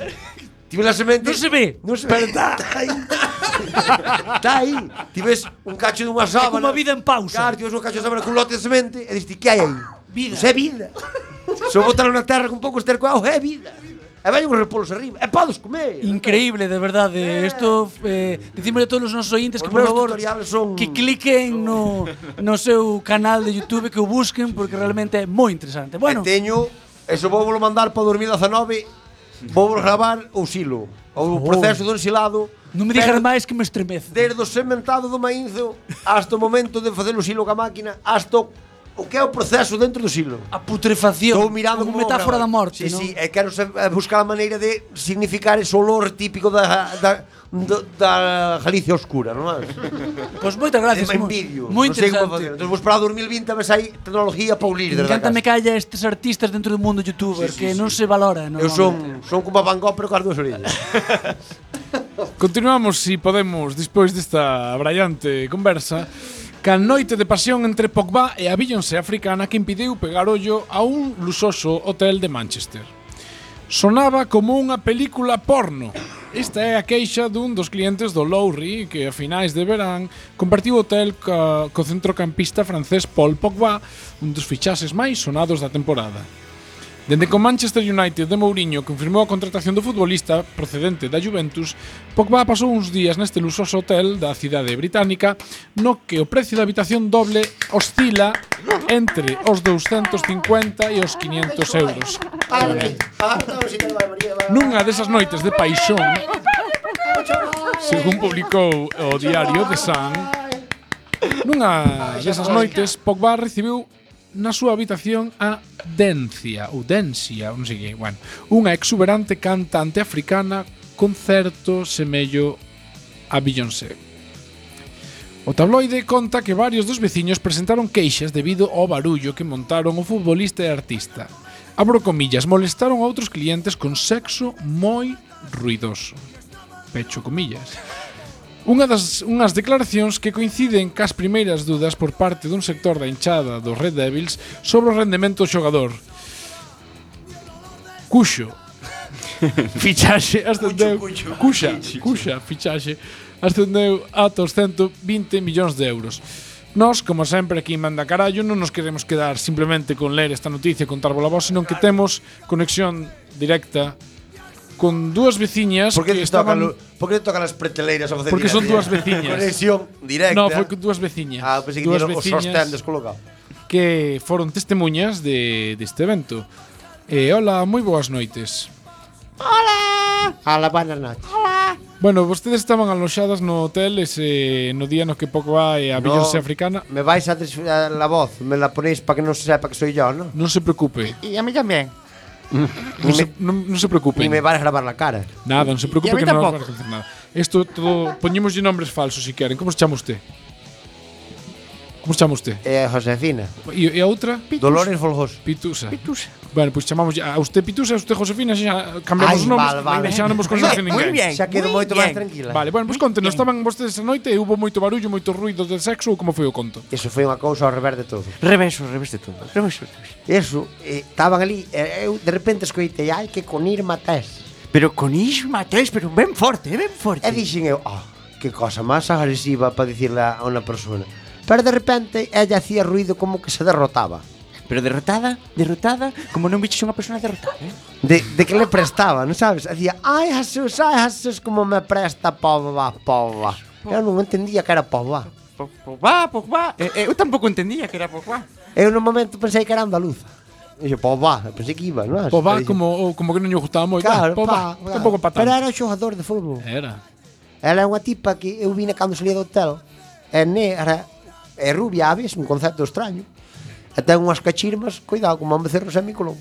B: Ti ves a semente? Non se ve. Non se ve. Pero está aí. Está aí. Ti ves un cacho dunha sábana. Como a vida
F: en pausa.
B: Claro, ti ves un cacho de sábana cun lote de semente e diste, que hai aí? Vida. Pois é vida. Se eu botar na terra con pouco estercoados, é vida. E vai un repolos arriba. E podes comer.
F: Increíble, de verdade. Isto eh, dicimos a todos os nosos ointes que por
B: meus
F: favor
B: tutoriales son- Oh.
F: que cliquen no no seu canal de YouTube que o busquen porque realmente é moi interesante. Bueno,
B: E teño, eso vou volo mandar para 2019, vou volo gravar o silo, o proceso do ensilado.
F: Non me digas máis que me estremezo.
B: Desde o sementado do maízo hasta o momento de facer o silo ca máquina, hasta o, o que é o proceso dentro do silo.
F: A putrefacción,
B: Estou mirando
F: como
B: como
F: metáfora da morte,
B: Sí,
F: non?
B: sí, e quero sa- eh, buscar a maneira de significar ese olor típico da, da, da, da Galicia oscura, non é?
F: Pois moitas gracias.
B: Moi
F: mo-
B: envidio.
F: Moi
B: non sei
F: interesante.
B: como facer. Entón, vos para 2020 a ver se hai tecnología para unir desde a
F: Encántame que haya estes artistas dentro do mundo youtuber
B: Sí, sí,
F: que
B: sí.
F: non se valora, non?
B: Eu son, son como a Van Gogh, pero coas dúas orellas.
D: Continuamos, si podemos, despois desta brallante conversa, ca noite de pasión entre Pogba e a Beyoncé africana que impediu pegar ollo a un luxoso hotel de Manchester. Sonaba como unha película porno. Esta é a queixa dun dos clientes do Lowry que a finais de verán compartiu hotel co, co centrocampista francés Paul Pogba, un dos fichases máis sonados da temporada. Dende que o Manchester United de Mourinho confirmou a contratación do futbolista procedente da Juventus, Pogba pasou uns días neste luxoso hotel da cidade británica no que o precio da habitación doble oscila entre os 250 e os 500 euros.
B: Ah,
D: Nunha desas noites de paixón, según publicou o diario The Sun, nunha desas noites Pogba recibiu na súa habitación a Dencia, ou Densia, non sei que, bueno, unha exuberante cantante africana con certo semello a Beyoncé. O tabloide conta que varios dos veciños presentaron queixas debido ao barullo que montaron o futbolista e artista. Abro comillas, molestaron a outros clientes con sexo moi ruidoso. Pecho comillas. Unha das unhas declaracións que coinciden cas primeiras dudas por parte dun sector da hinchada dos Red Devils sobre o rendemento do xogador. Cuxo. fichaxe ascendeu Cuxa, Cuxa, fichaxe ascendeu a 220 millóns de euros. Nós, como sempre, aquí en manda carallo, non nos queremos quedar simplemente con ler esta noticia e contar a voz, senón que temos conexión directa con dúas veciñas
B: Por que,
D: que
B: te tocan,
D: estaban...
B: lo- por que te tocan as preteleiras a facer
D: Porque son
B: directa?
D: dúas veciñas.
B: Conexión directa.
D: No, foi con dúas veciñas.
B: Ah, pensei que
D: Dúas
B: tiñeron os
D: veciñas.
B: sostén descolocado.
D: que foron testemunhas de deste evento. Eh, hola, moi boas noites.
I: A la banana.
D: Bueno, vostedes estaban aloxadas no hotel ese no día no que pouco vai a Beyoncé africana.
B: Me vais a desfiar la voz, me la ponéis para que non se sepa que soy yo, ¿no?
D: Non se preocupe.
I: Y a mí también.
D: Non se, non, non se preocupe.
B: Ni me van a grabar la cara.
D: Nada, non se
I: Y a
D: preocupe
I: mí
D: que non
I: tampouco.
D: vas a facer nada. Isto todo poñémoslle nombres falsos se si queren. Como se chama usted? Como se chama usted?
B: Eh, Josefina.
D: E, e a outra?
B: Dolores Folgos.
D: Pitusa. Bueno, pois pues chamamos a usted Pitusa, a usted Josefina, xa cambiamos
B: Ai,
D: os nomes,
B: vale, vale.
D: e xa non vos conoce ninguén.
B: Xa quedo moito máis tranquila.
D: Vale, bueno, pois contenos, estaban vostedes esa noite e hubo moito barullo, moito ruido de sexo ou como foi o conto?
B: Eso foi unha cousa ao revés de todo.
I: Reverso, reverso todo. Reverso.
B: Eso, estaban ali, eh, eu de repente escoitei, ai, que con Irma tes.
I: Pero con Isma 3, pero ben
G: eh,
I: forte, ben forte.
B: E dixen eu, oh, que cosa máis agresiva para dicirle a unha persona. Pero de repente ella hacía ruido como que se derrotaba.
G: Pero derrotada, derrotada, como non biches unha persona derrotada, eh?
B: De, de que le prestaba, non sabes? Hacía, ai, Jesús, ai, Jesús, como me presta pova, pova. Eu non entendía que era pova.
G: Pogba, Pogba. Eh, eh, eu tampouco entendía que era Pogba.
B: Eu no momento pensei que era andaluza. E eu, pova, pensei que iba, non?
D: Po va como ou como que non lle gustaba moito.
B: Claro,
D: po va,
B: pa,
D: tampouco é pa
B: Pero
D: tanto.
B: era xogador de fútbol.
D: Era.
B: Ela é unha tipa que eu vina cando salía do hotel. É negra, é rubia, aves, un concepto extraño. E ten unhas cachirmas, cuidado, como me cerro Semi Colón.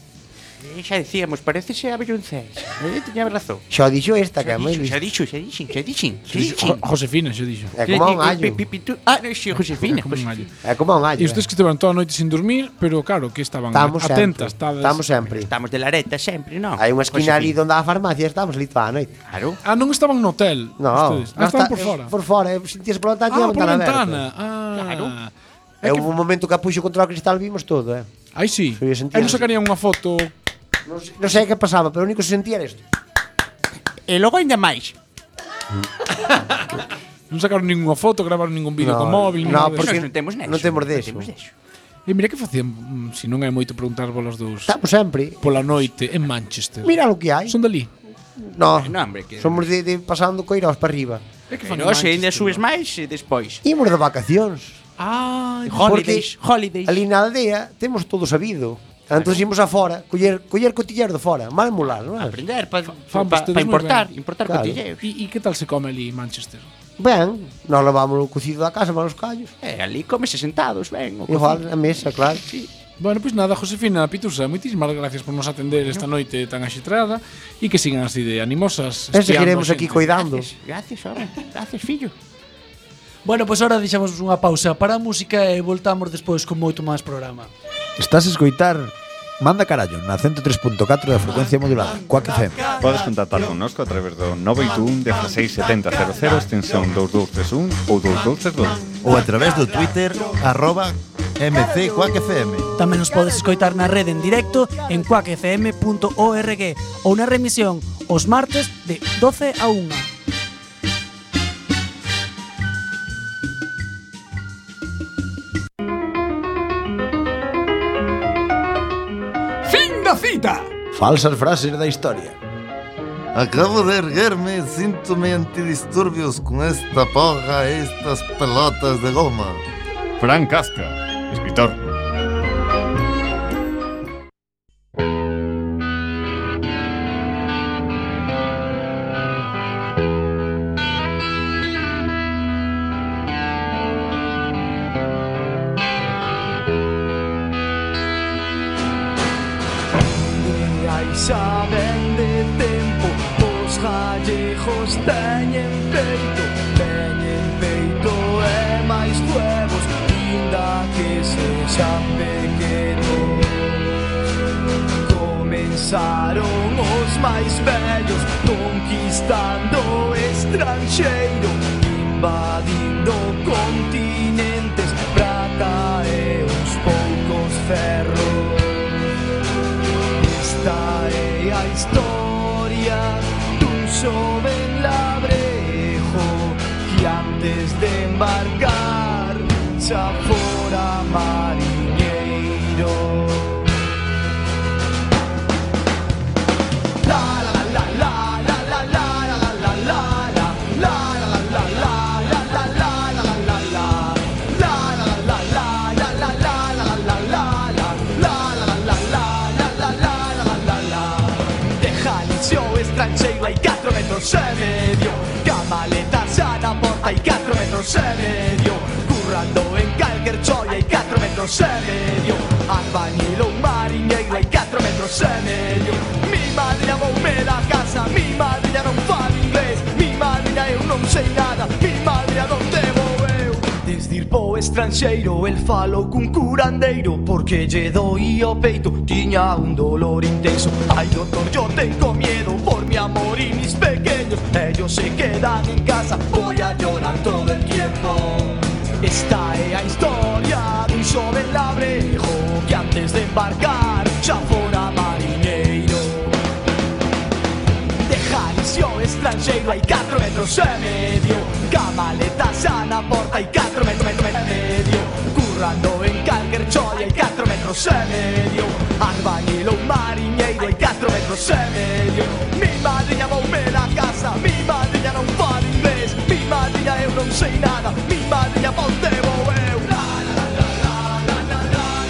G: Eh, xa dicíamos, parecese a Beyoncé. Eh, tiña razón.
B: Xa o dixo esta que é
G: Xa
B: moi
G: dixo, xa
B: lista.
G: dixo, xa dixo, xa dixo, xa dixo.
D: Jo- Josefina, xo dixo.
B: É como un allo.
G: Pi- pi- pi- tú- Ah, no, xe, Josefina.
D: Como un allo.
B: É como un allo.
D: E ustedes que estiveron toda a noite sin dormir, pero claro, que estaban
B: Ah, Estamos sempre.
D: atentas, estadas.
B: Estamos sempre.
G: Estamos de lareta sempre, non?
B: Hai unha esquina ali
G: Josefina.
B: onde a farmacia, estamos ali toda a noite.
G: Claro.
D: Ah, non estaban no hotel.
B: No,
D: ustedes. Ah, estaban por fora.
B: Por fora, eu sentíase pola ventana,
D: Ah,
B: tiña a
D: por
B: ventana
D: ventana.
B: aberta.
D: Ah.
G: Claro.
B: É un momento que apuxo contra o cristal vimos todo, eh.
D: Aí sí.
B: Eu ia sentir.
D: Aí non sacarían unha foto.
B: Non sei, non sei que pasaba, pero o único que se sentía era isto.
G: E logo ainda máis.
D: Non sacaron ninguna foto, gravaron ningún vídeo con móvil.
B: no,
D: nada de
B: porque
D: eso.
G: non temos nexo,
B: Non temos
G: non
B: deso.
G: temos nexo.
D: E mira que facían, mm, se non é moito preguntar volos dous,
B: Estamos sempre.
D: pola noite en Manchester.
B: Mira lo que hai.
D: Son dali.
B: Eh, No,
G: No, hombre, que-
B: somos de, de pasando coirós para arriba.
D: É que
G: E
D: fan en
G: non, Eh, se ainda
D: Manchester.
G: subes máis, e despois.
B: Imos de vacacións.
G: Ah, holidays, holidays.
B: Ali na aldea temos todo sabido. Entón imos a fora, coller, coller cotillero de fora, mal molar, non é?
G: Aprender, para
D: fan
G: pa,
D: vostedes
G: pa
D: moi
G: importar,
D: ben.
G: importar claro.
B: Claro.
G: cotilleos.
D: E, e que tal se come ali en Manchester?
B: Ben, nos levamos o cocido da casa para os callos.
G: Eh, ali comese sentados, ben. o
B: Igual na mesa, claro.
D: Bueno, pois nada, Josefina Pitusa, moitísimas gracias por nos atender esta noite tan axitrada e que sigan así de animosas.
B: E
D: espiando
B: seguiremos
D: a
B: aquí
D: xente.
B: coidando.
G: Gracias, gracias, home. Gracias, fillo.
F: Bueno, pois agora deixamos unha pausa para a música e voltamos despois con moito máis programa.
E: Estás a escoitar Manda Carallo na 103.4 da frecuencia modulada Coac FM
K: Podes contactar connosco a través do 921 167000 extensión 2231 ou 2232.
C: ou a través do Twitter arroba mccoacfm.
F: Tamén nos podes escoitar na rede en directo en cuacfm.org ou na remisión os martes de 12 a 1.
L: Fin da cita.
E: Falsas frases da historia
C: Acabo de erguerme, síntome antidisturbios con esta porra e estas pelotas de goma.
K: Fran Casca, escritor.
M: saben de tempo Os gallejos teñen peito Teñen peito e máis huevos Inda que sexan pequenos Comenzaron os máis vellos Conquistando o estranxeiro Invadindo continentes Prata e uns poucos ferros Esta é a historia dun xoven labrejo que antes de embarcar xa fora mariñeiro. La la la la la la la la la la la la la la la la la la la la la la la la la la la la la la la la la la la la la la Deja inicio estranxeiro hai 4 metros e medio Ca maleta xa na porta hai 4 metros e medio Currando en calquer choia hai 4 metros e medio Albañil ou mariñeiro hai 4 metros e medio Mi madre amoume da casa, mi madre non fala inglés Mi madre eu non sei nada, mi madre non te eu Desde ir po estranxeiro el falou cun curandeiro Porque lle doía o peito, tiña un dolor intenso Ai doctor, yo tengo miedo por mi amor y mis pequeños Ellos se quedan en casa, voy a llorar todo el tiempo Esta é a historia dun xoven labrejo Que antes de embarcar xa fora mariñeiro De Jalisco estranxeiro hai 4 metros e medio Ca maleta xa na porta hai 4 metros metro e medio Currando en calquer choia hai 4 metros e medio Albañil ou mariñeiro hai 4 metros e medio Mi madriña voume da casa, mi madriña non fala inglés Mi madriña eu non sei nada, mi madriña ponte vou eu La, la, la, la, la.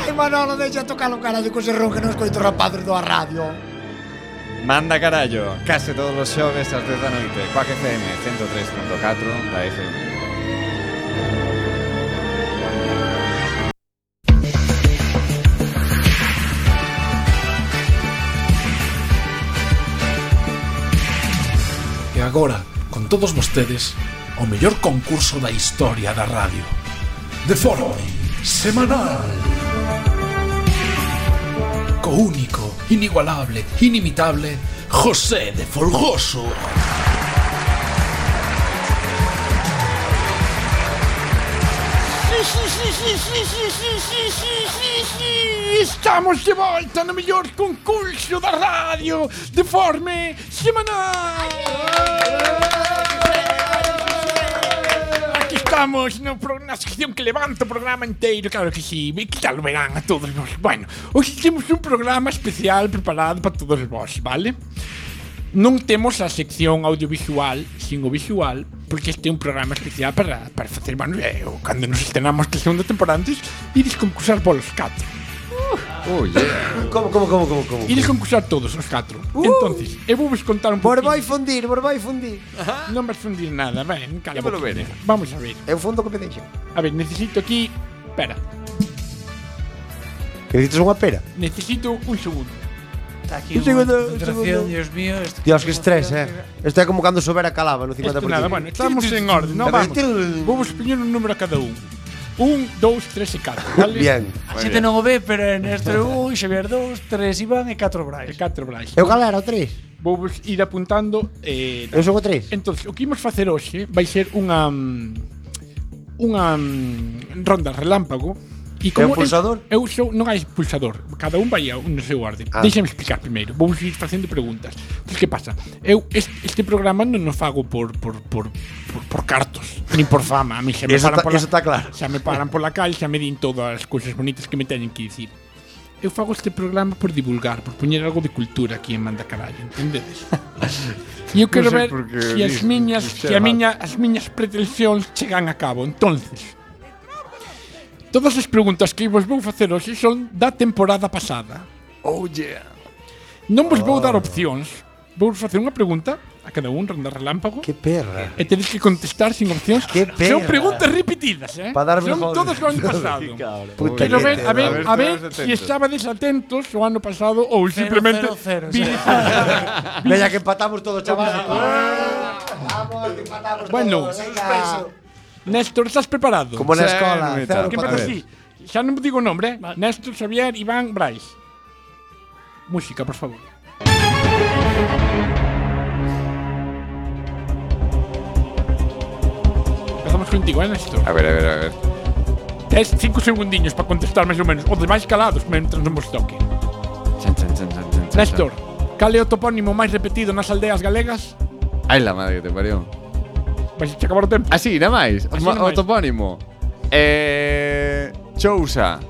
I: Ai, Manolo, deixa tocar o carallo co serrón que non escoito rapadres do a radio.
K: Manda carallo, case todos os xoves ás 10 da noite, Coac FM 103.4 da FM.
D: E agora, con todos vostedes, o mellor concurso da historia da radio. Deforme, semanal. Co único, inigualable, inimitable, José de Folgoso.
L: Estamos de volta no mellor concurso da radio de forme semanal. Aquí estamos no pro, na sección que levanta o programa inteiro, claro que sí. E que tal verán a todos vos. Bueno, hoxe temos un programa especial preparado para todos vos, vale? Non temos a sección audiovisual sin o visual Porque este é un programa especial para, para facer manuelo Cando nos estrenamos que segunda temporada antes Iris concursar polos catro
H: Oh, yeah.
D: Como, como, como, como, como? Iris concursar todos os catro uh. Entonces, eu vou vos contar un pouquinho
I: Borboi fundir, borboi fundir.
D: Non vas fundir nada, ben, cala
I: Ya me lo
D: boquinha.
I: veré.
D: Vamos a ver
I: Eu fundo que me deixen.
D: A ver, necesito aquí... Espera
B: Que necesitas unha pera.
D: Necesito un segundo.
F: Está aquí
B: Un
F: unha
B: segundo, un
F: concentración,
B: segundo.
F: Dios mío. Esto
B: Dios, que estrés, eh. Isto é como cando sobera calaba no 50%.
D: Esto nada, bueno, estamos en orden, no vamos. Vamos poñer un número a cada un. Un, dous, tres e catro, vale?
B: Bien.
F: A xente non o ve, pero en este un, Xavier 2, 3 Iván e 4 Brais. E
D: 4 Brais.
B: Eu cal era o 3.
D: Vou ir apuntando eh,
B: Eu son o 3.
D: Entón, o que imos facer hoxe vai ser unha mm, unha mm, ronda relámpago E
B: É un pulsador?
D: Eu, eu sou, non hai pulsador Cada un vai a un no seu orde ah.
B: Ah.
D: Deixame explicar primeiro Vou ir facendo preguntas Entón, que pasa? Eu este, este programa non o fago por, por, por, por, por cartos Nin por fama A mí xa me
B: Eso
D: paran
B: ta-
D: pola,
B: eso tá claro.
D: Xa me paran pola cal Xa me din todas as cousas bonitas que me teñen que dicir Eu fago este programa por divulgar, por poñer algo de cultura aquí en Manda Carallo, entendedes? E eu quero ver
H: Non sei por que
D: se as
H: dis-
D: miñas,
H: dixeras.
D: se a miña, as miñas pretensións chegan a cabo. Entonces, todas as preguntas que vos vou facer hoxe son da temporada pasada. Oh yeah. Ah. Non vos vou dar opcións. Vou facer unha pregunta a cada un, ronda relámpago. Que
B: perra.
D: E tedes que contestar sin opcións. Que
B: perra.
D: Son preguntas repetidas, eh?
B: Pa darme
D: Son
B: joder.
D: todas do ano pasado.
B: Puta
D: Quero
B: que
D: ver,
B: te
D: a ver,
B: va.
D: a ver se si estabades atentos o ano pasado ou
B: Cero,
D: simplemente
B: cero, cero,
D: vides-
B: Veña que empatamos todos, chaval.
D: Bueno, Néstor, estás preparado?
B: Como na escola,
D: Xa,
B: cero
D: Que
B: para
D: empeza
B: ver.
D: así. Xa non digo o nombre, eh? Néstor, Xavier, Iván, Brais. Música, por favor. Empezamos contigo, eh, Néstor?
N: A ver, a ver, a ver.
D: Tes cinco segundiños para contestar máis ou menos. Os demais calados, mentras non vos toque.
H: Chan, chan, chan, chan, chan, chan.
D: Néstor, cal é o topónimo máis repetido nas aldeas galegas?
H: Ai la madre que te parió.
D: Vais a acabar o tempo.
H: Así, nada máis.
D: Así,
H: O,
D: nada máis.
H: o topónimo. Eh, Chousa.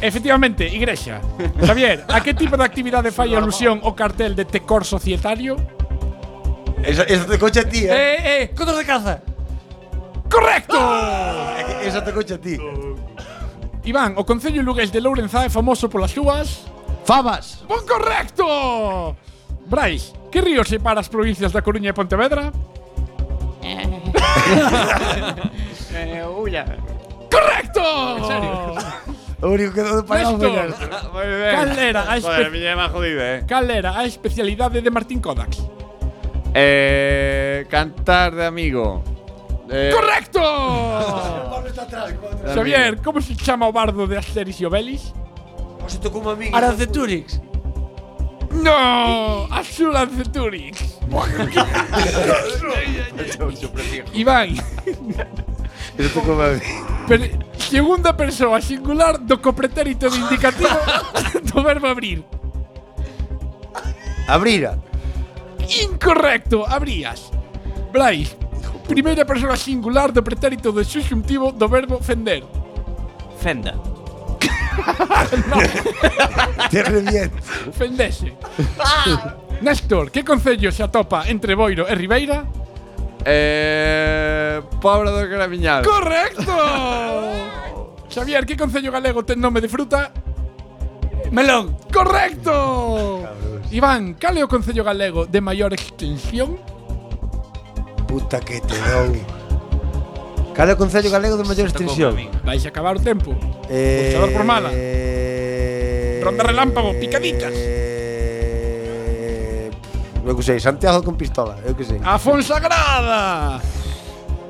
D: Efectivamente, Igrexa. Xavier, a que tipo de actividade fai alusión o cartel de Tecor Societario?
B: Eso, eso te coche a ti, eh.
D: eh, cotos de caza. ¡Correcto!
B: Eso te coche a ti.
D: Iván, o Concello Lugués de Lourenzá é famoso polas súas…
B: Fabas.
D: ¡Bon correcto! Brais, que río separa as provincias da Coruña e Pontevedra?
A: Eh, ulla.
D: ¡Correcto!
A: En serio.
B: O único que dou para
D: Néstor,
A: Muy bien.
D: cal era a, espe
H: Joder, miña má jodida, eh.
D: cal era a especialidade de Martín Kodax?
H: Eh, cantar de amigo. Eh,
D: ¡Correcto! Xavier, como se chama o bardo de Asterix e Obelix?
B: O se tocou a mí.
F: Araceturix.
D: No, Azul Azeturix. Iván,
B: Eso tocou a mí.
D: per- segunda persoa singular do copretérito de indicativo do verbo abrir.
B: Abrira.
D: Incorrecto, abrías. Brais, primeira persoa singular do pretérito do subjuntivo do verbo fender.
A: Fenda.
B: Te reviento.
D: Fendese. Néstor, que concello se atopa entre Boiro e Ribeira?
H: eh, Pobra do Caramiñal.
D: ¡Correcto! Xavier, ¿qué concello galego ten nome de fruta? Melón. ¡Correcto! Iván, cal é o concello galego de maior extensión?
B: Puta que te dou. Cal é o Concello Galego de maior extensión?
D: Vais a acabar o tempo.
B: Eh,
D: Pulsador por mala.
B: Eh,
D: Ronda relámpago, picaditas.
B: Eh, eu que sei, Santiago con pistola, eu que sei.
D: A Fonsagrada!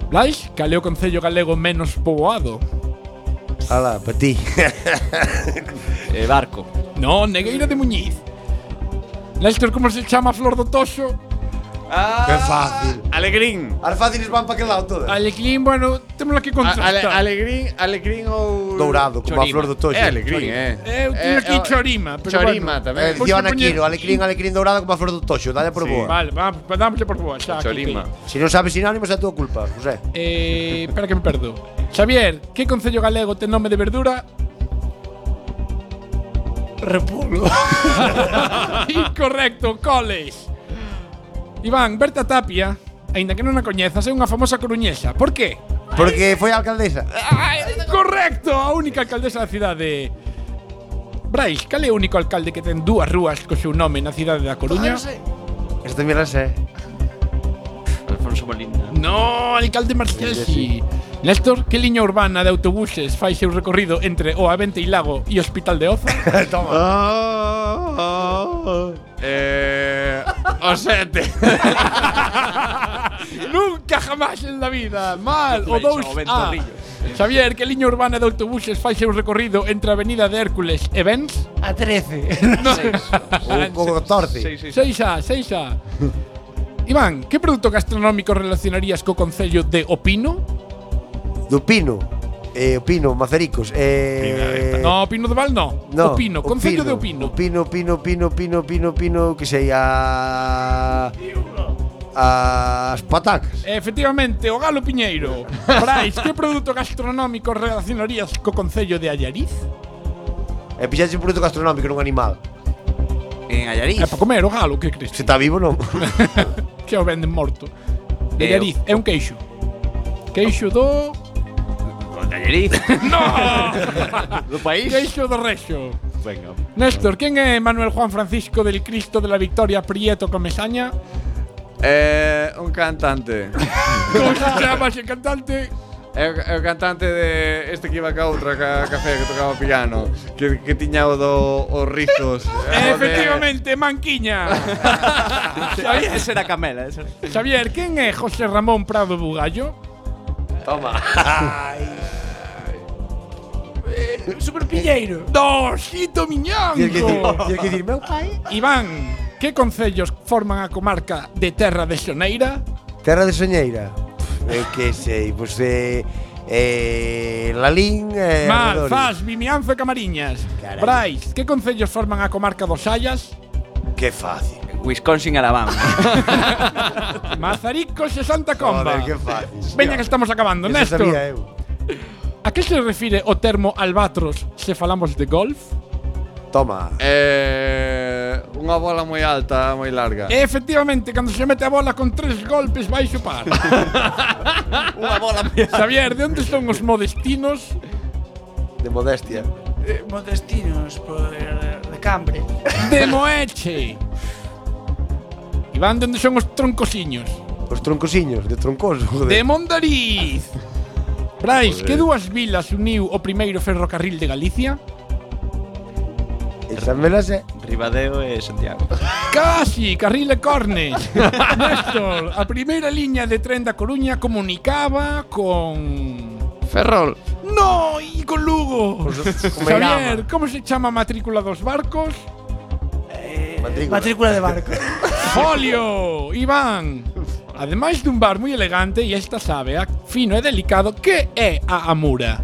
D: Vais, cal é o concello galego menos poboado?
B: Ala, pa ti.
A: Eh, barco.
D: No, Negueira de Muñiz. Néstor, como se chama a Flor do Toxo?
B: que fácil.
H: Alegrín.
B: As fáciles van pa eh? que lado todas.
D: Aleclín, bueno, temos que
H: A-
D: contrastar.
H: Ale, alegrín, alegrín ou
B: Dourado, como a
A: Chorima.
B: flor do toxo.
H: É alegrín, eh.
D: Eu tiño
H: Eh,
D: aquí
H: eh,
D: Chorima, pero
H: Chorima
D: bueno.
H: tamén.
B: Eh,
D: Vou
B: dicían aquí,
D: supoñer-
B: no, alegrín, alegrín dourado como a flor do toxo, dalle por
H: Sí.
B: boa.
D: Vale, vamos, pues dámosle por boa, xa. aquí
H: Chorima.
D: te-
B: Se non sabes sinónimos é a túa culpa, José.
D: Eh, espera que me perdo. Xavier, que concello galego ten nome de verdura?
F: Repulo.
D: Incorrecto, coles. Iván, Berta Tapia, aínda que non a coñezas, é unha famosa coruñesa. Por qué?
B: Porque foi a alcaldesa.
D: Ai, correcto, a única alcaldesa da cidade. Brais, cal é o único alcalde que ten dúas rúas co seu nome na cidade da Coruña?
B: Esta mira sé.
A: Alfonso Molina.
D: No, alcalde Marcelsi. Néstor, que liña urbana de autobuses fai seu recorrido entre o A20 e Lago e Hospital de Oza?
B: Toma. Ah,
D: Eh, o sete. Nunca jamás en la vida. Mal. O dous
L: Fecho,
D: A.
L: ventorrillo.
D: Xavier, que liña urbana de autobuses fai seu recorrido entre a Avenida de Hércules e Benz?
F: A 13.
B: Ou co 14.
D: 6A, 6A. Iván, que produto gastronómico relacionarías co Concello de Opino?
B: Do Pino. Eh, o Pino, Macericos. Eh,
D: no, Opino de Val no.
B: no,
D: Opino,
B: o
D: Concello de Opino.
B: O Pino, Pino, Pino, Pino, Pino, Pino, que sei a as patacas.
D: Efectivamente, o Galo Piñeiro. Brais, que produto gastronómico relacionarías co Concello de Allariz?
B: E pichaxe un produto gastronómico nun animal.
G: En Allariz.
D: É para comer o galo, que crees?
B: Se está vivo non.
D: Que o venden morto. De
B: Eh,
D: Allariz, é un queixo. Queixo do...
G: De Allariz.
D: no!
G: do país.
D: Queixo do rexo.
G: Venga.
D: Néstor, quen é Manuel Juan Francisco del Cristo de la Victoria Prieto Comesaña?
H: Eh, un cantante.
D: Como se chama ese cantante?
H: É o, é o cantante de este que iba ca outra ca, café que tocaba piano Que, que tiña o do, os rizos
D: Eh, Efectivamente, Manquiña.
G: Ese era Camela, ese era.
D: Xavier, quen é José Ramón Prado Bugallo?
B: Toma.
F: Super Piñeiro.
D: Dosito Miñanco.
B: Tienes que decir- tienes que decir, meu
D: Iván, que concellos forman a comarca de Terra de Xoneira?
B: Terra de Soñeira. Pff, Eu que sei, pois eh, eh Lalín eh,
D: Mal,
B: arredores.
D: Fas, Vimianzo e Camariñas. Brais, que concellos forman a comarca dos Sayas?
B: Que fácil.
G: Wisconsin, Alabama.
D: Mazaricos e Santa
B: Joder,
D: Comba.
B: que fácil.
D: Veña que estamos acabando,
B: Eso
D: Néstor.
B: sabía eu.
D: A que se refire o termo albatros se falamos de golf?
B: Toma.
H: eh, Unha bola moi alta, moi larga
D: E efectivamente, cando se mete a bola con tres golpes vai xupar.
G: Unha bola
D: Xavier, de onde son os modestinos?
B: De modestia.
F: Eh, Montestinos, por, de Cambre.
D: De Moeche. Iván, de onde son os troncosiños?
B: Os troncosiños, de troncoso,
D: De
B: joder.
D: Mondariz. Brais, que dúas vilas uniu o primeiro ferrocarril de Galicia?
B: Esa me la sé.
G: Ribadeo e Santiago.
D: Casi, Carril e Cornes. Néstor, a primeira liña de tren da Coruña comunicaba con...
H: Ferrol
D: No, e con Lugo. Xavier, como se chama a matrícula dos barcos?
B: Matrícula.
F: Matrícula de barco.
D: Folio, Iván. Ademais dun bar moi elegante e esta sabe, a fino e delicado, que é a Amura?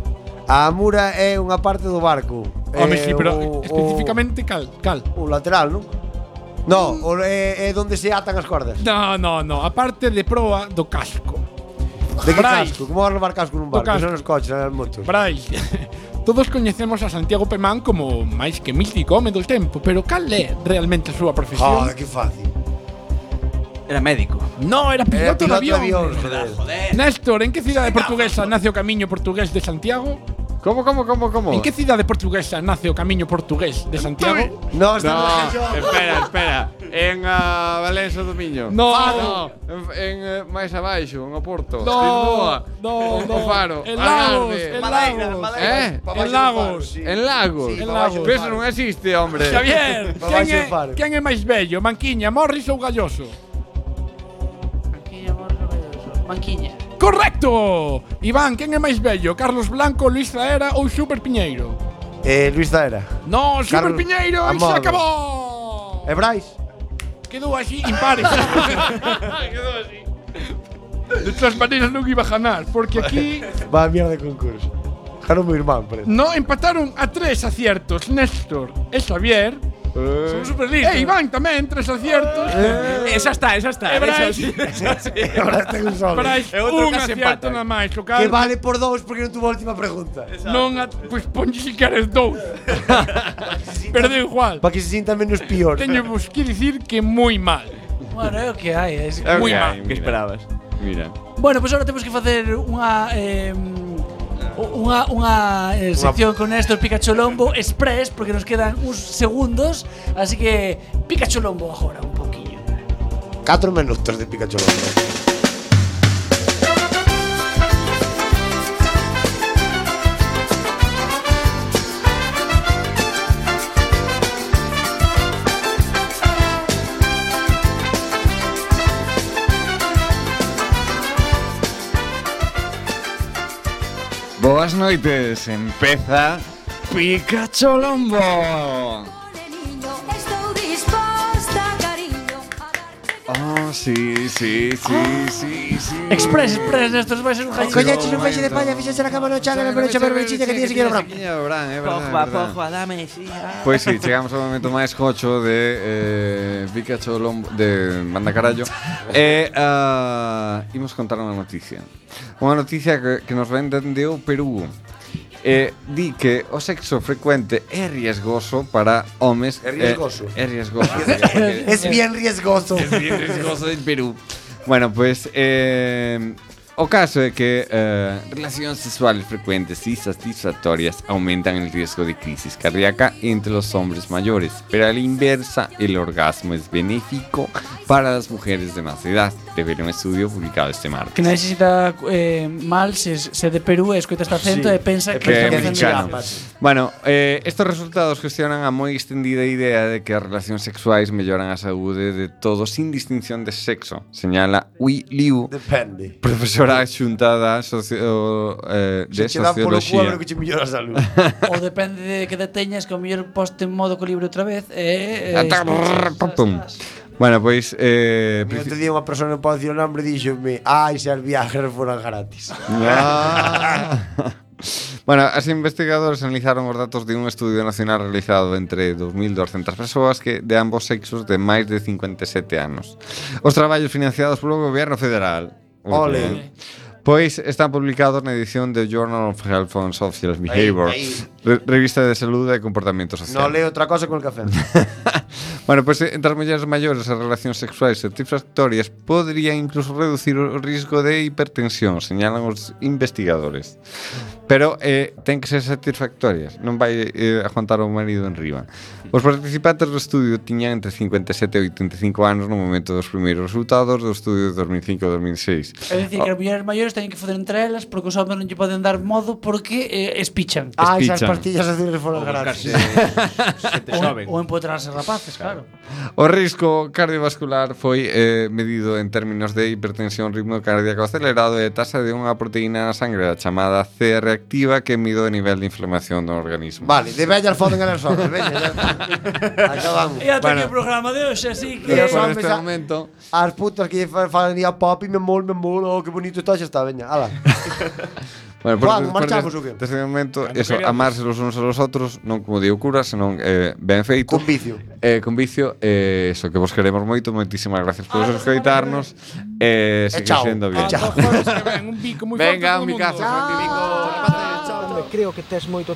B: A Amura é unha parte do barco.
D: Home, sí, Ah,
B: Eh,
D: pero
B: o- o-
D: especificamente cal, cal.
B: o lateral, non? No, o, é, é onde se atan as cordas.
G: Ah,
D: No, no, no, a parte de proa do casco.
B: De que
D: Brais.
B: casco? Como vas levar casco nun
D: Do
B: barco?
D: casco.
B: Son os coches, son as motos.
D: Brais, todos coñecemos a Santiago Pemán como máis que mítico home do tempo, pero cal é realmente a súa profesión?
B: Joder, Ah, que fácil.
G: Era médico.
D: No, era
B: Era
D: piloto,
B: piloto
D: de avión.
B: joder.
D: Néstor, en que cidade portuguesa nace o camiño portugués de Santiago?
H: Como, como, como, como?
D: En que cidade portuguesa nace o camiño portugués de Santiago?
B: No, está
H: No,
B: no.
H: espera, espera En ah, a Valença do Miño
D: No,
H: En, en eh, máis abaixo, en
D: no,
H: Oporto Lisboa
D: no, no.
H: O Faro
D: En Lagos,
H: Algarve.
D: en
B: Madeira,
D: Lagos.
B: Madeira.
H: Eh?
B: Pa
D: En
B: baixo do faro,
D: Lagos.
B: sí.
H: En Lagos
B: Sí,
D: En
B: pa baixo
D: Lagos.
B: do
H: Pero eso
B: faro.
H: non existe, hombre
D: Xavier,
B: Pa
D: quen
B: baixo
D: é,
B: do faro.
D: quen é máis bello, Manquiña, Morris ou Galloso?
F: Manquiña, Borja, Belloso. Manquiña.
D: Correcto! Iván, quen é máis bello, Carlos Blanco, Luis Zaera ou Super Piñeiro?
B: Eh, Luis Zaera.
D: No, Super
B: Carlos-
D: Piñeiro, aí se
B: Amor.
D: acabou!
B: E Brais?
D: Quedou así impares. Quedou así. De todas maneiras non iba a ganar, porque aquí
B: Va a mierda de concurso. Jaro meu irmán, parece.
D: no empataron a tres aciertos Néstor e Xavier.
H: Eh,
D: E Iván tamén, tres aciertos.
B: Eh.
G: Esa está, esa está.
D: E Brais,
B: Ahora tengo un solo.
D: Brais
G: É outro
D: un
G: case
D: acierto
G: empatan.
D: na máis, o
B: Que
D: cal
B: vale por dous porque non tuvo a última pregunta.
D: non a, pois ponlle si queres dous. Perdeu igual.
B: Para que se sinta menos peor.
D: Teño vos que dicir que moi mal.
F: Bueno, é o que hai. É...
H: é o
D: Moi
H: que
D: mal.
H: hai,
G: Que
H: mira.
G: esperabas?
H: Mira
F: Bueno, pois pues agora temos que facer unha eh, unha unha eh, sección con Néstor Pikachu Lombo Express porque nos quedan uns segundos, así que Pikachu Lombo agora un poquinho.
B: 4 minutos de Pikachu Lombo.
K: noites empeza Pikachu Lombo.
O: Estou disposta, cariño.
K: Oh, sí, sí, sí, sí, sí.
F: Express, express, estos vais a un jaleo.
I: Coñaches, un peixe de palla, fíxense na cama no chala, na pelucha, pero que tiña señor Abraham.
H: Abraham, é verdade,
I: Pogba,
H: é verdade.
G: Pues
I: Pogba, Pues
F: dame, sí.
H: Pois sí, chegamos ao momento máis gocho de eh, Pikachu Lombo de Manda Carallo E uh, imos contar unha noticia Unha noticia que, que nos venden de o Perú Eh, di que o sexo frecuente é riesgoso para homes
B: É
H: eh,
B: riesgoso.
H: É riesgoso
B: Es bien riesgoso.
H: Es bien riesgoso en Perú Bueno, pues eh, o caso é que eh, relacións sexuales frecuentes y satisfactorias aumentan el riesgo de crisis cardíaca entre los hombres mayores, pero a la inversa, el orgasmo es benéfico para las mujeres de más edad, debido a un estudio publicado este martes.
F: Que non sei se está eh, mal, se, se de Perú escoita este acento
H: Sí,
F: e pensa que,
H: que é
F: son
H: mexicano.
F: chiapas.
H: Bueno, eh, estos resultados cuestionan a moi extendida idea de que as relacións sexuais melloran a saúde de todos sin distinción de sexo, señala Ui Liu,
B: Depende.
H: profesora xunta da socio, eh, de
B: Se che dan polo cu,
H: socioloxía.
B: a ver o que che mellora a salud.
F: Ou depende de que deteñas, que o mellor poste en modo colibre outra vez. E, eh,
H: Ata- pum, pum. Bueno, pois eh,
B: Mi outro día unha persoa non podo dicir o nome díxome Ai, se as viajes foran gratis.
H: Ah. Bueno, as investigadores analizaron os datos de un estudio nacional realizado entre 2.200 persoas que de ambos sexos de máis de 57 anos. Os traballos financiados polo goberno federal.
B: Ole.
H: Ole. Pois están publicados na edición do Journal of Health and Social Behavior,
B: Aí, aí.
H: re- revista de saúde e comportamento social.
B: Non leo outra cosa con el café.
H: Bueno, pois entre as mulleres maiores as relacións sexuais satisfactorias podría incluso reducir o risco de hipertensión, señalan os investigadores. Pero eh, ten que ser satisfactorias, non vai eh, aguantar o marido en riba. Os participantes do estudio tiñan entre 57 e 85 anos no momento dos primeiros resultados do estudio de 2005 e
F: É
H: 2006.
F: dicir, que as mulleres maiores teñen que foder entre elas porque os homens non lle poden dar modo porque eh, espichan.
H: Ah,
B: Ai, se as pastillas azules foran gratis.
F: Ou empotrarse rapaces, claro.
H: O risco cardiovascular foi eh, medido en términos de hipertensión, ritmo cardíaco acelerado e tasa de unha proteína na sangre a chamada C reactiva que mide o nivel de inflamación do organismo.
B: Vale, de vellas foden a las horas, veña. ya. Acabamos.
F: E ata aquí o programa de hoxe, así que...
B: Os homes
H: este
B: a- As putas ah, que lle fa- fan ir a papi, me mol, me mol, oh, que bonito está, xa está, veña, ala.
H: Bueno,
B: Juan, marchamos o qué?
H: Desde o este momento,
B: Cando
H: eso,
B: queramos.
H: amarse los uns aos outros, non como digo cura, senón eh, ben feito. Con
B: vicio.
H: Eh, con vicio, eh, eso, que vos queremos moito, moitísimas gracias por escoitarnos. Eh,
L: E
H: sigue
L: chao.
H: sendo bien.
L: E chao.
H: Venga, mi casa,
L: Chao.
P: Creo que tes moito